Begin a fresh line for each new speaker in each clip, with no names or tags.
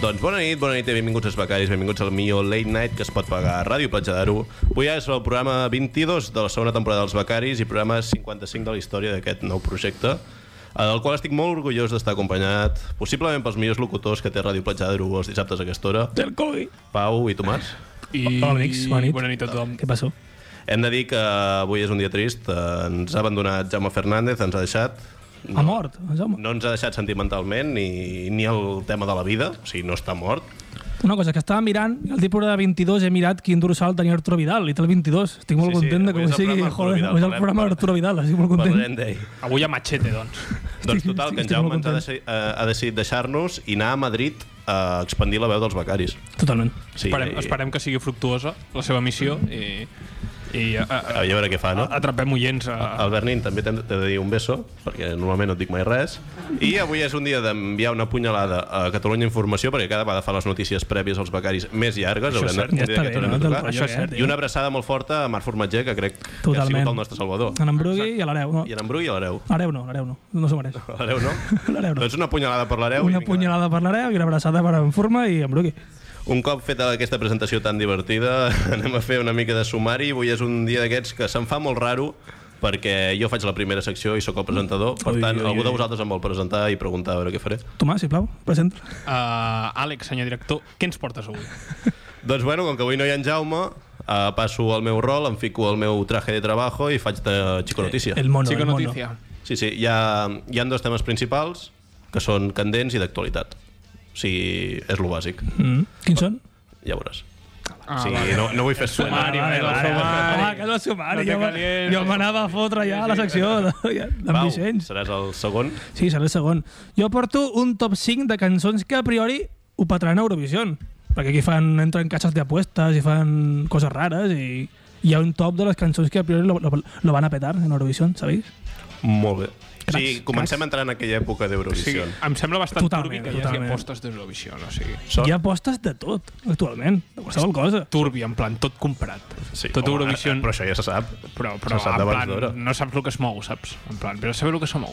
Doncs bona nit, bona nit i benvinguts als becaris, benvinguts al millor Late Night que es pot pagar a Ràdio Platja d'Aro. Avui és el programa 22 de la segona temporada dels becaris i programa 55 de la història d'aquest nou projecte eh, del qual estic molt orgullós d'estar acompanyat possiblement pels millors locutors que té Ràdio Platja d'Aro els dissabtes a aquesta hora,
Del coi.
Pau i Tomàs.
I...
Hola, amics, bona nit.
Bona nit a tothom.
Què passó?
Hem de dir que avui és un dia trist, eh, ens ha abandonat Jaume Fernández, ens ha deixat,
Ha mort, el Jaume.
no ens ha deixat sentimentalment ni, ni el tema de la vida, o sigui, no està mort.
Una cosa, que estava mirant, el tipus de 22 he mirat quin dorsal tenia Arturo Vidal, i té el 22. Estic molt
Sí, sí,
content de
avui
que ho
és el
sigui.
programa Arturo Vidal,
Joder, avui és el
parlem-
programa d'Arturo Vidal, estic molt
Parlarem
content.
d'ell.
Avui a Machete, doncs.
Doncs total, que en
estic
Jaume
molt
ens ha,
content.
deixi, eh, ha decidit deixar-nos i anar a Madrid a expandir la veu dels becaris.
Totalment.
Sí,
esperem,
i-
esperem que sigui fructuosa la seva missió i, i a, a,
A veure què fa, Ah, no?
Ah,
Ah,
a- atrapem oients. A,
Al Bernin també t'hem t'he de dir un beso, perquè normalment no et dic mai res. I avui és un dia d'enviar una punyalada a Catalunya Informació, perquè cada vegada fa les notícies prèvies als becaris més llargues.
Això és cert.
un
Ja
dia
està
que
bé,
tornem
no?
a
Del
tocar.
rotllo
Això és cert,
aquest,
I
eh?
una abraçada molt forta a Marc Formatger, que crec que ha
Totalment.
sigut el nostre salvador.
En Embrugui i a l'Areu. No,
I en Bru i a l'Areu.
l'Areu no, l'Areu no, no s'ho mereix.
A L'Areu no?
L'Areu no.
Doncs una punyalada per l'Areu. i
Una
vinga,
punyalada per l'Areu i una abraçada per en Forma i en Brugui.
Un cop feta aquesta presentació tan divertida, anem a fer una mica de sumari. Avui és un dia d'aquests que se'm fa molt raro perquè jo faig la primera secció i sóc el presentador. Per
Ui,
tant,
ui,
algú de
ui.
vosaltres em vol presentar i preguntar a veure què faré.
Tomàs, sisplau, presenta.
a, Àlex, senyor director, què ens portes avui?
Doncs bueno, com que avui no hi ha en Jaume, eh, passo al meu rol, em fico el meu traje de trabajo i faig de Chico Notícia.
Eh, El mono,
Chico
el mono.
Notícia.
Sí, sí, hi ha, hi ha dos temes principals que són candents i d'actualitat. O sigui, és lo bàsic.
Mm. Quins són?
Ja veuràs.
Ah,
sí,
vale.
no, no vull fer suena.
sumari,
Vale,
eh,
vale,
del
va,
sumari.
va, que és el sumari.
No te
Jo, me-
calientes.
jo m'anava a fotre ja a la secció de, d'en
Pau,
Vicenç.
seràs el segon.
Sí, serà el segon. Jo porto un top 5 de cançons que a priori ho petaran a Eurovisió, perquè aquí fan, entren caixes d'apuestes i fan coses rares i hi ha un top de les cançons que a priori lo, lo, lo van a petar en Eurovisió, sabeu?
Molt bé.
Cracs,
sí, comencem
cracs.
a entrar en aquella època
Sí,
d'Eurovisió. Sí.
em sembla bastant
Totalment,
turbi que hi hagi
totalment.
apostes d'Eurovisió, no? O sigui,
Hi ha apostes de tot, actualment, de qualsevol cosa.
turbi, en plan, tot comprat.
Sí,
tot
home, eh,
Eurovisió...
Però això ja se sap.
però, però
se sap
en
d'abans d'hora.
plan, no saps el que es mou, saps? En plan, però saber el que se mou.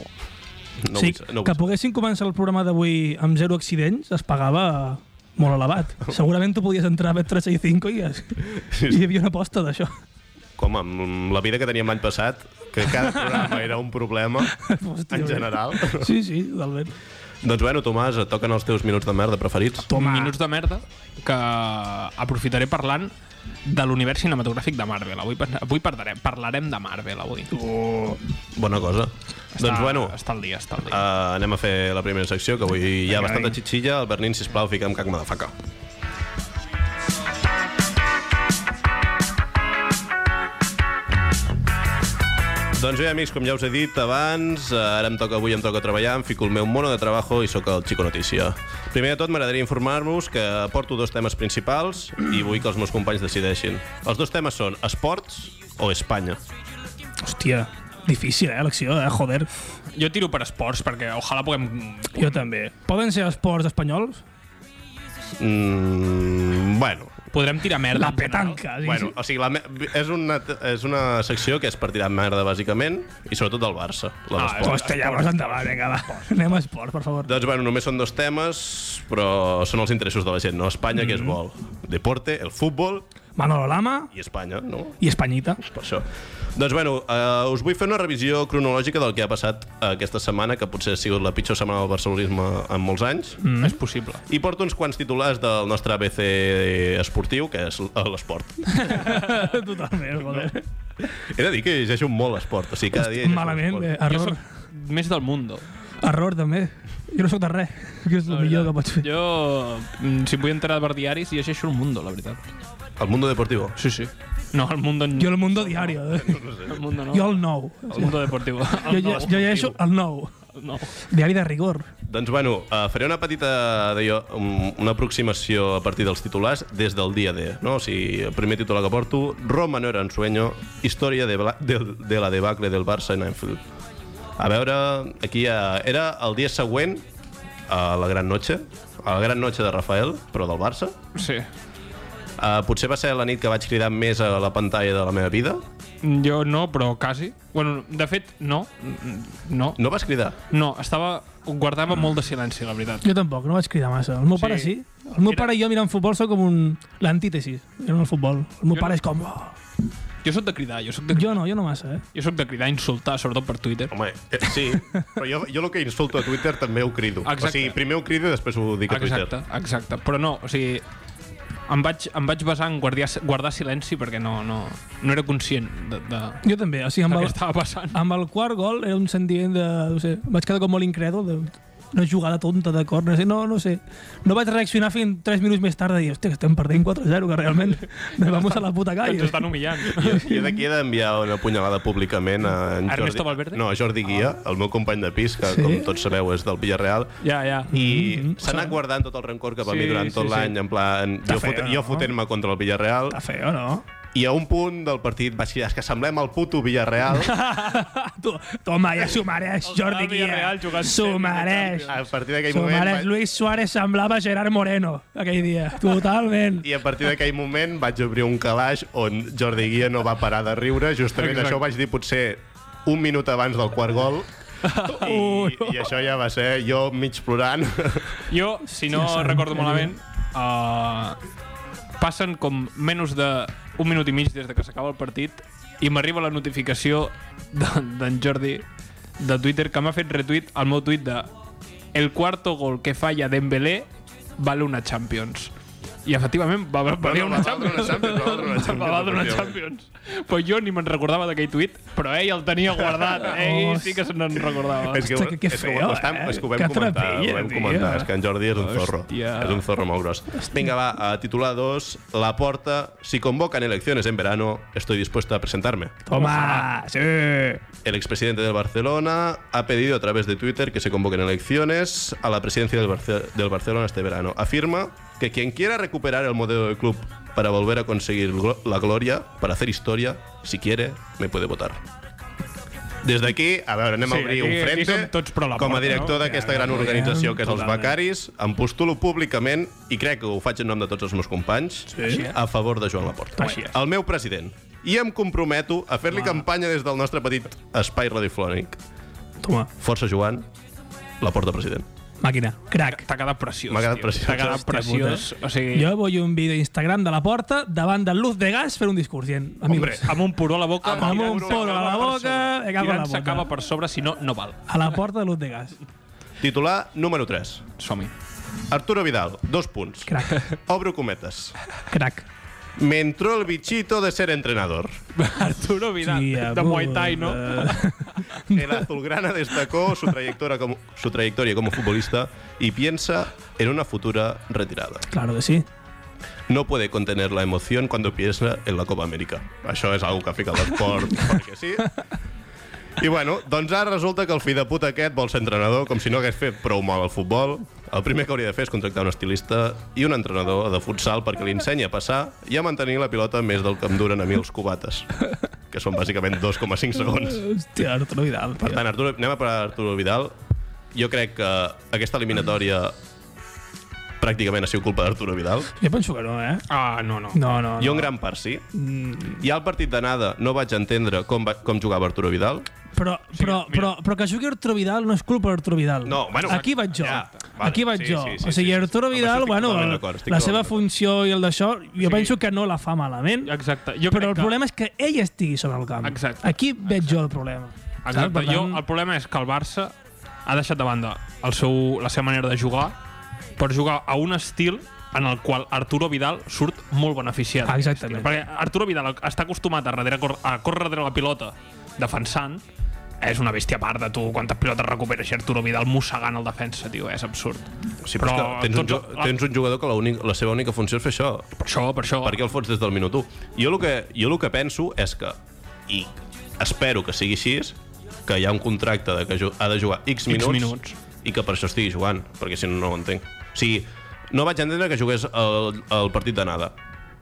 No
sí,
vull- no
que
vull-
poguessin començar el programa d'avui amb zero accidents es pagava molt elevat. Segurament tu podies entrar a Bet365 i, es, i hi havia una aposta d'això.
Com amb la vida que teníem l'any passat, que cada programa era un problema,
Hòstia,
en general.
Sí, sí, totalment.
doncs bueno, Tomàs, et toquen els teus minuts de merda preferits.
Toma.
Minuts de merda que aprofitaré parlant de l'univers cinematogràfic de Marvel. Avui, pen- avui parlarem, parlarem de Marvel, avui.
Oh. Bona cosa. Està, doncs bueno,
Està al dia, està al dia.
uh, anem a fer la primera secció, que avui hi ha
Vinga,
bastanta
vinga.
xitxilla. El Bernin, sisplau, fica'm cac madafaca. Doncs bé, amics, com ja us he dit abans, eh, ara em toca avui em toca treballar, em fico el meu mono de treballo i sóc el Chico Notícia. Primer de tot, m'agradaria informar-vos que porto dos temes principals i vull que els meus companys decideixin. Els dos temes són esports o Espanya.
Hòstia, difícil, eh, l'acció, eh, joder.
Jo tiro per esports, perquè ojalà puguem...
Jo també. Poden ser esports espanyols?
Mm, bueno,
Podrem tirar merda.
La
en general.
petanca. Sí,
Bueno,
sí.
o sigui, la me- és, una, és una secció que és partida amb merda, bàsicament, i sobretot del Barça, la
Ah,
d'esport.
Hòstia, llavors endavant, vinga, va. Anem a esports, per favor.
Doncs, bueno, només són dos temes, però són els interessos de la gent, no? Espanya, mm. que és
Mm-hmm.
vol? Deporte, el futbol
Manolo Lama
i Espanya, no?
i Espanyita.
Per això. Doncs, bueno, eh, us vull fer una revisió cronològica del que ha passat aquesta setmana, que potser ha sigut la pitjor setmana del barcelonisme en molts anys. Mm.
Mm. És possible.
I porto uns quants titulars del nostre ABC esportiu, que és l'esport.
Totalment, joder.
He de dir que llegeixo molt esport, o sigui, cada dia... llegeixo
Malament,
esport.
eh,
Jo
error.
soc més del mundo.
Error, també. Jo no sóc de res, que és el millor que pots fer.
Jo, mm, si em vull enterar per diaris, llegeixo el mundo, la veritat.
El mundo deportivo.
Sí, sí. No, el mundo... en-
Jo el Mundo Diario, eh?
El mundo no.
Jo el nou.
El mundo deportivo.
Jo, jo, jo llegeixo el nou.
No.
Diari de rigor.
Doncs bueno, eh, faré una petita d'allò, un- una aproximació a partir dels titulars des del dia D. No? O sigui, el primer titular que porto, Roma no era un sueño, història de, bla- del- de la debacle del Barça en Anfield. A veure, aquí ja era el dia següent a la gran noche, a la gran noche de Rafael, però del Barça.
Sí.
Eh, Uh, potser va ser la nit que vaig cridar més a la pantalla de la meva vida.
Jo no, però quasi. Bueno, de fet, no. No.
No vas cridar?
No, estava... Guardava molt de silenci, la veritat.
Jo tampoc, no vaig cridar massa. El meu
Sí.
pare sí. El meu
Era-
pare i jo mirant futbol sóc com un... l'antítesis en el futbol. El meu
Jo
pare
no-
és com... "Oh".
Jo sóc de cridar, jo sóc de, jo,
Jo no, jo no massa, eh?
jo sóc de cridar, insultar, sobretot per Twitter.
Home, eh, sí, però jo, jo el que insulto a Twitter també ho crido.
Exacte.
O sigui, primer ho crido i després ho dic a
Exacte,
Twitter.
exacte. Però no, o sigui, em vaig, em vaig basar en guardiar, guardar silenci perquè no, no, no era conscient de, de,
Jo també. O sigui,
de
amb el,
què estava passant.
amb el quart gol era un sentiment de... No sé, vaig quedar com molt incrèdul de una jugada tonta de cor, no sé, no, no sé. No vaig reaccionar fins 3 minuts més tard i dir, hòstia, que estem perdent 4-0, que realment nos vamos a la puta
Que ens
calle.
estan humillant.
Jo, jo d'aquí he d'enviar una punyalada públicament a en Jordi...
Ernesto Valverde? Ah.
No, a Jordi Guia, el meu company de pis, que
Sí? Mm-hmm,
com tots sabeu és del Villarreal,
Ja, ja.
i s'ha anat guardant tot el rancor cap a
Sí,
mi durant tot
sí, sí.
l'any, en plan, jo,
feo,
fot, jo
no?
fotent-me contra el Villarreal,
Està feo, no?
i a un punt del partit vaig dir, és que semblem el puto Villarreal,
Tu, toma, ja s'ho mereix, Jordi Guia.
Villarreal jugant
S'ho
semis de
mereix.
Champions.
a partir d'aquell
Su
moment...
mare,
vaig-
Luis Suárez, semblava Gerard Moreno aquell dia. Totalment.
I a partir d'aquell moment vaig obrir un calaix on Jordi Guia no va parar de riure. Justament
Exacte.
Exacte. això ho vaig dir potser un minut abans del quart gol. I, I això ja va ser jo mig plorant.
Jo, si
Hòstia,
no Hòstia,
sant,
recordo
eh?
malament, uh, passen com menys de un minut i mig des de que s'acaba el partit i m'arriba la notificació de- d'en Jordi de Twitter que m'ha fet retuit al meu tuit de el cuarto gol que falla Dembélé vale una Champions. I efectivament va va- valia
no,
una,
va valdre una
Champions.
Champions, va valdre una
Va
Champions,
valdre una
efectivament.
Champions. Pues jo ni me'n recordava d'aquell tuit, però ell el tenia guardat.
Oh,
Ell sí que se n'en recordava.
és
Hòstia, que- que
és ho-
feo,
ho estam-
eh?
és que ho vam
Que
comentar,
atrapella,
ho vam
tio.
comentar. És que en Jordi és un zorro.
Hòstia.
És un zorro molt gros. Vinga, va, a titular 2, la porta. Si convocan elecciones en verano, estoy dispuesto a presentarme.
Toma, sí.
El expresidente del Barcelona ha pedido a través de Twitter que se convoquen elecciones a la presidencia del, Barce- del Barcelona este verano. Afirma que quien quiera recuperar el modelo del club para volver a conseguir glo- la gloria, para hacer historia, si quiere, me puede votar. Des d'aquí, a veure, anem
Sí,
a obrir
aquí-
un
aquí
frente
som tots pro la
com a
porta,
director
no?
d'aquesta
Ja,
gran
ja,
organització que és els
totalment.
Becaris. Em postulo públicament, i crec que ho faig en nom de tots els meus companys,
Així és.
a favor de Joan Laporta.
Així és.
El meu president. I em comprometo a fer-li campanya des del nostre petit espai radiofònic.
Toma,
Força, Joan. La porta president.
màquina, crack.
T'ha quedat preciós.
M'ha quedat
tio.
preciós.
T'ha quedat
Hòstia
preciós. O sigui,
Jo vull un vídeo a Instagram de la porta davant de luz de gas fer un discurs dient,
Hombre,
amics,
amb un poró a la boca...
Amb
amb un
tirant-se
poro a la boca, me cago en la
Tirant-se cava
boca.
per sobre, si no, no val.
A la porta de luz de gas.
Titular número 3.
Som-hi.
Arturo Vidal, dos punts.
Crac,
Obro cometes.
crac.
Me entró el bichito de ser entrenador.
Arturo Vidal,
Tia
de Muay Thai, no?
puta.
El azulgrana destacó su trayectoria como, su trayectoria como futbolista y piensa en una futura retirada.
Claro que sí.
No puede contener la emoción cuando piensa en la Copa América. Això és algo que fica l'esport perquè sí. I bueno, doncs ara resulta que el fill de puta aquest vol ser entrenador com si no hagués fet prou mal al futbol. El primer que hauria de fer és contractar un estilista i un entrenador de futsal perquè li ensenya a passar i a mantenir la pilota més del que em duren a mi els cubates, que són bàsicament 2,5 segons.
Hòstia, Arturo Vidal,
Per
tio.
tant, Arturo, anem a per Arturo Vidal. Jo crec que aquesta eliminatòria pràcticament ha sigut culpa d'Arturo Vidal.
Jo penso que no, eh?
Ah, Mm. no, no.
No, no,
Jo
no.
en gran part sí. I al partit d'anada no vaig entendre com, va, com jugava Arturo Vidal.
Però, però, però, però que jugui Arturo Vidal no és culpa d'Arturo Vidal.
No, bueno,
Aquí vaig jo.
ja,
Ja,
vale,
Aquí vaig
sí,
jo.
sí, sí,
o sigui,
sí, sí.
Arturo
Amb això
Vidal,
estic
bueno,
totalment
el-
d'acord, estic
la
totalment
seva
d'acord.
funció i el d'això, jo penso que no la fa malament.
Exacte.
però
Jo crec
el
que-
problema és que ell estigui sobre el camp.
Exacte.
Aquí veig jo el problema. Saps?
Exacte.
Per
Jo,
tant,
el problema és que el Barça ha deixat de banda el seu, la seva manera de jugar per jugar a un estil en el qual Arturo Vidal surt molt beneficiat. d'aquest
Ah, Exactament.
estil. Perquè Arturo Vidal està acostumat a, darrere, cor- a córrer darrere la pilota defensant, és una bèstia a part de tu, quantes pilotes recupera així Arturo Vidal mossegant el defensa, tio, és absurd.
Sí, però, però tens, un,
tots-
jo- tens un jugador que la, únic, la seva única funció és fer això.
Per això, per això.
Per què el fots des del minut 1? Jo el que, jo el que penso és que, i espero que sigui així, que hi ha un contracte de que ju- ha de jugar X minuts,
minuts.
i que per això estigui jugant, perquè si no, no ho entenc. O sigui, no vaig entendre que jugués el, el partit d'anada.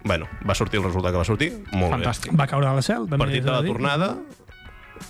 Bueno, va sortir el resultat que va sortir, molt
Fantàstic.
va caure a la cel. També
bé. Partit de
s'ha
la
dir.
tornada,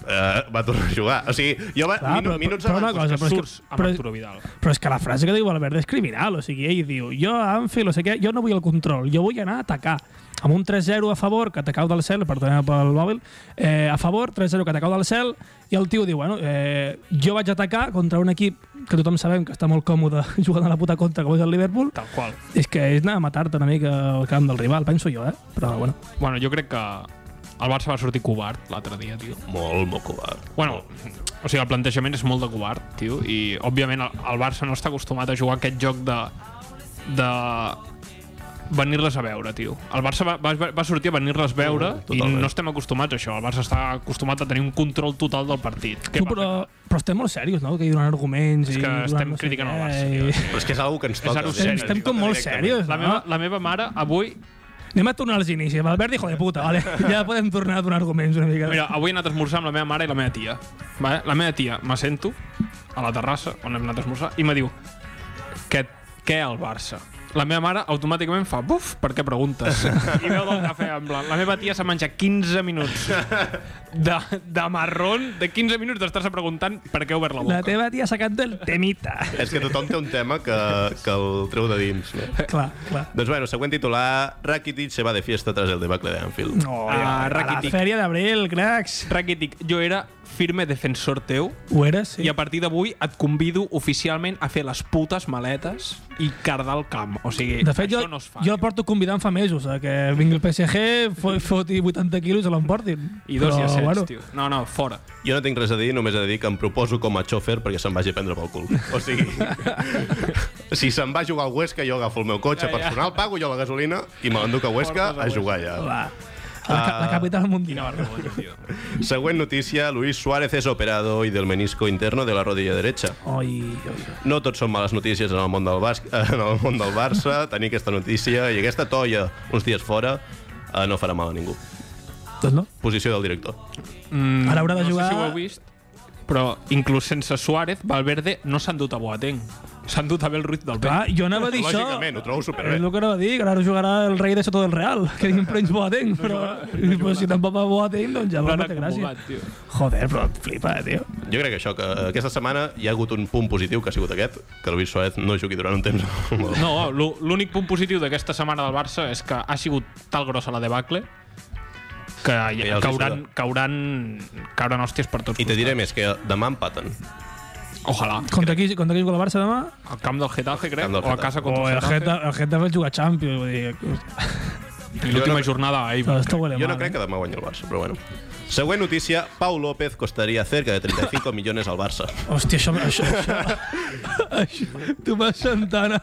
eh, va tornar a jugar. O sigui, jo va,
Clar,
minu,
però-
minuts
però
abans...
una cosa,
doncs,
però és que-
Surts amb
però-
Arturo Vidal.
Però és que la frase que diu Valverde és criminal, o sigui, ell diu jo, Anfield, no sé què, jo no vull el control, jo vull anar a atacar. Amb un 3-0 a favor, que atacau del cel, perdona pel mòbil, eh, a favor, 3-0 que atacau del cel, i el tio diu, bueno, eh, jo vaig atacar contra un equip que tothom sabem que està molt còmode jugant a la puta contra, com és el Liverpool,
Tal qual.
és que és anar a matar-te una mica al camp del rival, penso jo, eh? Però, bueno,
Bueno, jo crec que el Barça va sortir covard l'altre dia, tio.
Molt, molt covard.
Bueno, o sigui, el plantejament és molt de covard, tio, i òbviament el, el Barça no està acostumat a jugar aquest joc de... de venir-les a veure, tio. El Barça va, va, va sortir a venir-les a veure
Mm,
i
totalment.
no estem acostumats a això. El Barça està acostumat a tenir un control total del partit. Què
tu,
va
però, però estem molt serios, no? Que hi donen arguments
És
i...
que
donen
estem
no sé
criticant
què,
el Barça, tio.
i-
Però és que és una que ens
És
toca.
algo
o sigui,
seriós.
ens
Estem
toca
com molt
directament.
serios.
La,
no?
meva, la meva mare avui...
Anem a tornar als inicis. Valverde, hijo de puta, vale? Ja podem tornar a donar arguments una mica.
Mira, avui he anat a esmorzar amb la meva mare i la meva tia. Vale? La meva tia m'assento a la terrassa on hem anat a esmorzar i me diu què, què el Barça? La meva mare automàticament fa buf, per què preguntes? I veu del cafè en blanc. La meva tia s'ha menjat 15 minuts de, de marrón, de 15 minuts d'estar-se preguntant per què ha obert la boca.
la teva tia ha sacat del temita.
És que tothom té un tema que, que el treu de dins. No?
clar, clar.
Doncs bueno, següent titular, Rakitic se va de fiesta tras el debacle de Anfield.
No,
Ah,
a la
Rakitic.
fèria d'abril, cracs.
Rakitic, jo era firme defensor teu
Ho eres,
sí. i
sí.
a partir d'avui et convido oficialment a fer les putes maletes i cardar el camp. O sigui,
De fet, jo,
això no es fa. eh?
jo el porto convidant fa mesos, a que vingui el PSG, fo- foti 80 quilos i l'emportin.
I dos
Però,
i set, tio. No, no, fora.
Jo no tinc res a dir, només he de dir que em proposo com a xòfer perquè se'n vagi a prendre pel cul. O sigui, si se'n va a jugar al Huesca, jo agafo el meu cotxe
Ja, ja.
personal, pago jo la gasolina i me l'enduc a Huesca
Portes a
a jugar allà.
La, la, ca- la capital
Quina
mundial.
vergonya, tio.
Següent notícia, Luis Suárez és operado i del menisco interno de la rodilla derecha.
Ah.
Oi, oi, oi.
No tot són males notícies en el món del, basc, en el món del Barça. Tenir aquesta notícia i aquesta toia uns dies fora eh, no farà mal a ningú.
Doncs no?
Posició del director.
Mm,
Ara haurà de
no
jugar-
sé si ho heu vist, però inclús sense Suárez, Valverde no s'han dut a Boateng. S'han dut a Bel Ruiz del
Clar,
Vell.
jo anava a dir això... Eh,
Lògicament, ho trobo
És
superbé.
el que anava a dir, que ara jugarà el rei de sota del Real, que sempre ens Boateng, però, però si tampoc va Boateng, doncs ja
No
va,
l'ha
no té gràcia.
convocat, tio.
Joder, però flipa, eh, tio.
Jo crec que això, que aquesta setmana hi ha hagut un punt positiu que ha sigut aquest, que Luis Suárez no jugui durant un temps. No.
No, l'ú- l'únic punt positiu d'aquesta setmana del Barça és que ha sigut tal grossa la debacle que
ja
ja
els
cauran, cauran, cauran hòsties per
I
tots.
te diré més, que demà empaten.
costats. Ojalà.
Contra qui, contra qui juga el Barça demà?
Al camp del Getafe, crec,
Camp del
o a
Getafe.
casa
O
contra
el
el Getafe.
Getafe, el Getafe juga Champions, vull dir...
I l'última
Jo no-
jornada a Eibar.
Esto huele
Jo no
mal,
crec
eh?
que demà guanyi el Barça, però bueno. Següent notícia, Pau López costaria cerca de 35 millones al Barça.
Hòstia, això... això, això, això tu vas sentant...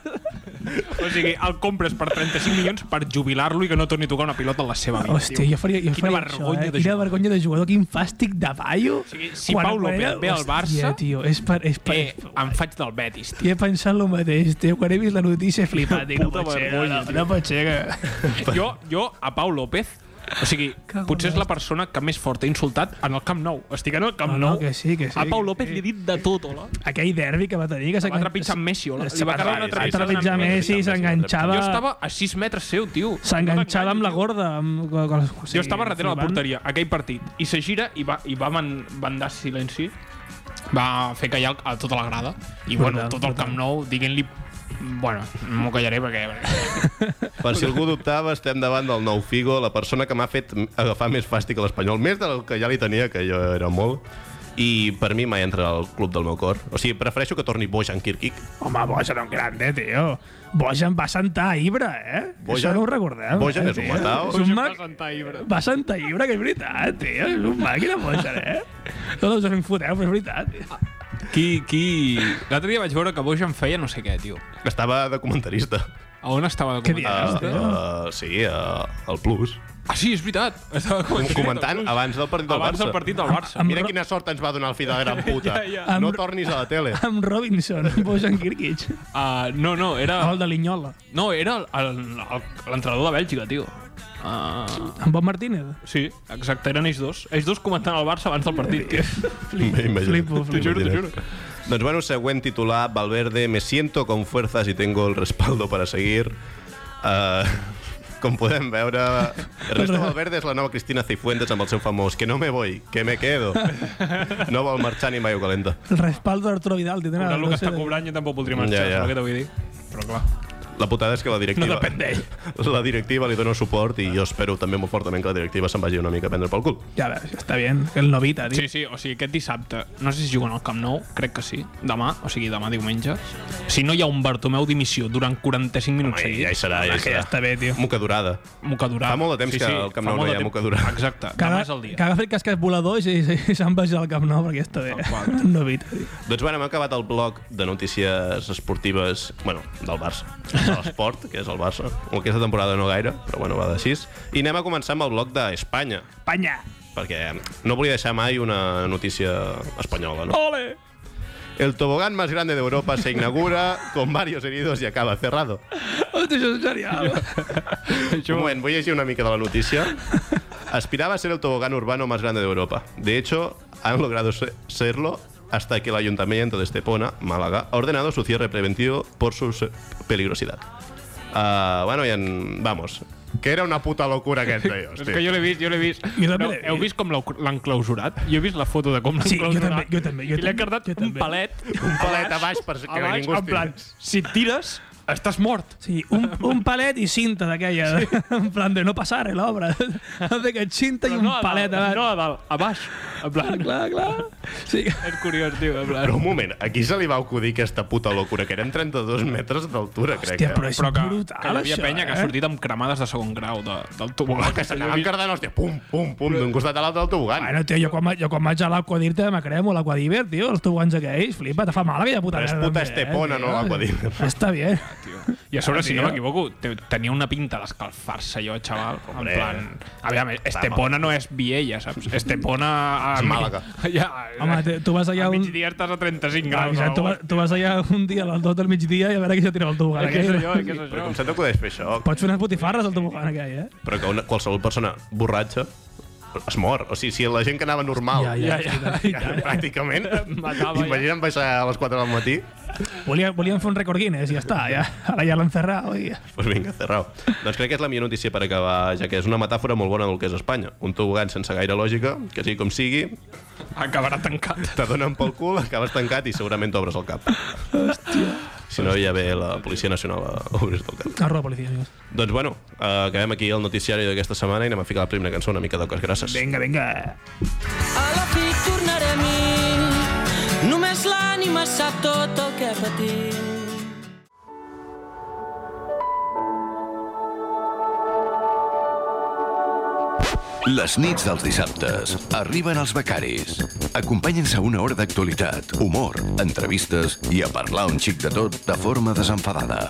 O sigui, el compres per 35 milions per jubilar-lo i que no torni a tocar una pilota en la seva vida.
Hòstia, jo faria, jo
Quina
faria això,
vergonya
eh?
de
Quina
jugador.
vergonya de jugador, quin fàstic de paio. O
sigui, si Pau López ve al Barça-
tio, és per... És per
Eh, em faig del Betis, tio.
I he pensat el mateix, tio. Quan he vist la notícia he flipat. Dic, no
Puta
pot ser,
vergonya,
no, no pot ser que...
Jo, jo a Pau López, o sigui,
Cago en
potser és la persona que més fort he insultat en el Camp Nou. Estic en el Camp
No, Ah, no,
Nou.
que sí, que sí,
A Pau
que
López
sí.
li he dit de tot, hola.
Aquell derbi que va tenir... Que
Va trepitjar amb Messi, hola. Li
Se
va
va
acabar una
sí, sí, sí.
trepitjada.
trepitjar
amb Messi.
Messi,
Messi,
s'enganxava...
Jo estava a 6 metres seu, tio.
S'enganxava amb la
Tio.
gorda. Amb... O
Jo estava darrere la
flipant.
porteria, aquell partit, i se gira i va, i va man, bandar silenci, va fer callar a tota la grada, i bueno,
Brutal,
tot el
brutal.
Camp Nou dient-li... Bueno, m'ho callaré perquè...
Per si algú dubtava, estem davant del nou Figo, la persona que m'ha fet agafar més fàstic a l'Espanyol, més del que ja li tenia, que jo era molt, i per mi mai entra al club del meu cor. O sigui, prefereixo que torni Bojan Kirkic.
Home, Bojan era un grande, tio. Bojan va sentar a Ibra, eh?
Bojan-
Això no ho recordem.
Bojan
eh,
és un
tio?
matau.
És un mag... Va sentar a Ibra, que és veritat, tio. És un màquina, Bojan, eh? No, us en foteu, però és veritat. Tio.
Qui, qui... L'altre dia vaig veure que Bojan feia no sé què, tio.
Estava de comentarista.
A on estava de
Què
comentar?
dius?
Uh, uh, sí, uh, al Plus.
Ah, sí, és veritat. Estava
Com- Comentant abans del partit del
abans
Barça.
del partit del Barça.
Mira quina sort ens va donar el fill de la gran puta.
Ja,
ja.
No
Amb-
tornis a la tele.
Amb Robinson, Bojan Kirkic.
Uh, no, no, era...
Gol de Linyola.
No, era el- el- el- l'entrenador de Bèlgica, tio. Uh,
En Bob Martínez.
sí, exacte, eren ells dos. Ells dos comentant el Barça abans del partit, tio.
Imagina't.
Flipo, flipo.
T'ho juro, t'ho juro.
Doncs bueno, següent titular, Valverde, me siento con fuerzas y tengo el respaldo para seguir. Uh, Com podem veure, Ernesto Valverde és la nova Cristina Cifuentes amb el seu famós que no me voy, que me quedo. No vol marxar ni mai ho calenta.
El respaldo de Arturo Vidal tindrà.
Però el que
Ah, sé.
està cobrant jo tampoc voldria marxar,
Ja, ja.
és el que t'ho vull dir. Però clar,
La putada és que la directiva...
No depèn d'ell.
La directiva li dona suport i jo espero també molt fortament que la directiva se'n vagi una mica a prendre pel cul.
Ja veus, està bé. El Novita, tio.
Sí, sí, o sigui, aquest dissabte, no sé si juguen al Camp Nou, crec que sí, demà, o sigui, demà diumenge. Si no hi ha un Bartomeu dimissió durant 45 minuts
Ai, ja hi
seguits,
serà, ja hi
Ah, que ja
serà.
està bé, tio.
Muca durada.
moca durada.
Fa molt de temps que al Camp
fa
Nou no
molt de
hi ha
temps.
moca durada.
Exacte,
Que
demà
haga-
és el dia.
Que agafi el cascat volador i, i, i se'n vagi al Camp Nou, perquè ja està bé.
Tampoc.
El Novita, tio.
Doncs bueno, hem acabat el bloc de notícies esportives, bueno, del Barça, de l'esport, que és el Barça. Aquesta temporada no gaire, però bueno, va de sis. I anem a començar amb el bloc d'Espanya,
Panya!
perquè no volia deixar mai una notícia espanyola, no?
Ole!
El tobogán más grande de Europa se inaugura con varios heridos y acaba cerrado.
Hòstia, això és genial.
Un momento, voy a decir una mica de la noticia. Aspiraba a ser el tobogán urbano más grande de Europa. De hecho, han logrado se- serlo hasta que el ayuntamiento de Estepona, Málaga, ha ordenado su cierre preventivo por su se- peligrosidad. Ah, bueno, ya en- vamos. Que era una puta locura que entre ellos.
És que jo l'he vist, jo l'he vist.
Jo també
Però
l'he vist.
heu vist com l'heu- l'han clausurat? Jo he vist la foto de com l'han
Sí, jo
clausurat.
també, jo també, jo
I l'he
també,
cardat
jo
un
també.
palet.
Un palet a baix perquè
a baix,
ningú
en plan,
estiri.
si et tires, estàs mort.
Sí, un, un palet i cinta d'aquella, sí. en plan de no passar eh, l'obra. Hace que cinta i
Però
un
a
palet. abans.
dalt, no a dalt, a baix. En
Clar,
plan,
clar, clar. Sí.
és curiós, tio. En plan,
Però un moment, aquí se li va acudir aquesta puta locura, que eren 32 metres d'altura, crec.
Hòstia,
eh?
però és
però que,
brutal,
que hi havia
això,
penya que
eh?
ha sortit amb cremades de segon grau de, del tobogà.
Que s'anaven cardant, hòstia, pum, pum, pum, d'un costat a l'altre del tobogán.
Bueno, tio, jo quan, va- jo quan vaig a l'Aquadirte me cremo l'Aquadiver, tio, els tobogans aquells, flipa, te fa mal aquella puta
Però és
merda.
puta
també, eh,
Estepona,
tio.
no l'Aquadiver.
Està bé.
I a sobre, si no
Tio.
m'equivoco, te- tenia una pinta d'escalfar-se jo, xaval. En
Hombre.
plan... Aviam, Estepona no és Viella, saps? Estepona... A...
És Màlaga.
Ja, eh,
Home, te- tu vas allà
Al
un-
migdia estàs a 35
Clar,
graus.
Vicent, tu, va- tu vas allà un dia a les 2 del migdia i a veure qui se tira el tobogán
Què és eh,
aquell.
això? Què és
Però com
això?
se t'acudeix fer això?
Pots fer unes botifarres al tobogán aquell, eh?
Però que una, qualsevol persona borratxa es mor. O sigui, si la gent que anava normal, Ah, ja,
Ja, ja, ja.
ja. pràcticament,
Matava, ja.
imagina't baixar a les 4 del matí,
Volien, volien fer un rècord Guinness i ja està, ja. Ara ja l'han cerrat, oi?
doncs pues vinga, cerrau. doncs crec que és la millor notícia per acabar, ja que és una metàfora molt bona del que és Espanya. Un tobogán sense gaire lògica, que sigui com sigui,
Acabarà tancat.
te donen pel cul, acabes tancat i segurament t'obres el cap. Hòstia. Si no, ja ve la Policia Nacional a obrir-te el cap.
Arroba, policia, amigos.
Doncs bueno, eh, acabem aquí el noticiari d'aquesta setmana i anem a ficar la primera cançó, una mica d'oques grasses.
Vinga, vinga.
A la fi tornaré a mi, només l'ànima sap tot el que patim.
Les nits dels dissabtes arriben els becaris. Acompanyen-se a una hora d'actualitat, humor, entrevistes i a parlar un xic de tot de forma desenfadada.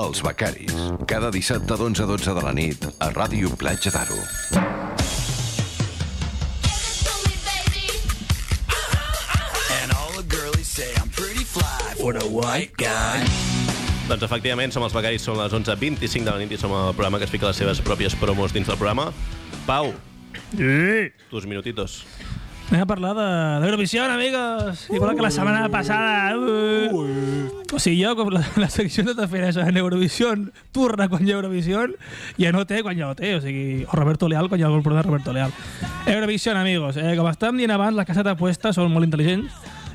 Els becaris. Cada dissabte d'11 a 12 de la nit a Ràdio Platja d'Aro.
And all the girlies say I'm pretty fly for a white guy.
Doncs efectivament, som els becaris, són les 11.25 de la nit i som el programa que es fica les seves pròpies promos dins del programa. Pau,
Sí.
tus minutitos.
Anem a parlar de d'Eurovisión, amigos. Igual que la setmana passada. Uh. O sigui, jo, com la, la secció de Taferesa en Eurovisión, torna quan hi ha Eurovisión, i a no té quan ja ho té. O sigui, o Roberto Leal quan hi ha el problema de Roberto Leal. Eurovisión, amigos. Eh, com estàvem dient abans, les cases d'apuestes són molt intel·ligents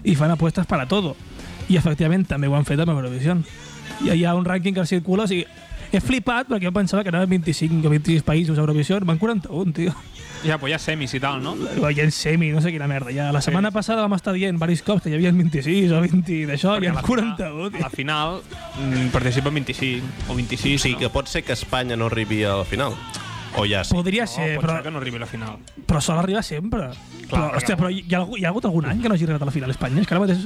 i fan apuestes per a todo. I, efectivament, també ho han fet amb Eurovisión. I hi ha un rànquing que circula, o sigui, he flipat perquè jo pensava que anaven 25 o 26 països a Eurovision, van 41, tio
Ja, però ja semis i tal, no?
veient semi, no sé quina merda. Ja la setmana passada vam estar dient diversos cops que hi havia 26 o 20 d'això, i en 41.
A la final mm, participen 25 o 26.
Sí, que pot ser que Espanya no arribi a la final. O ja sí.
Podria
No,
ser,
Oh, pot
però,
ser que no arribi a la final.
però sol arribar sempre. però,
perquè-
hòstia, però hi ha, algú, hi ha hagut algun any que no hagi arribat a la final a Espanya? És que ara mateix...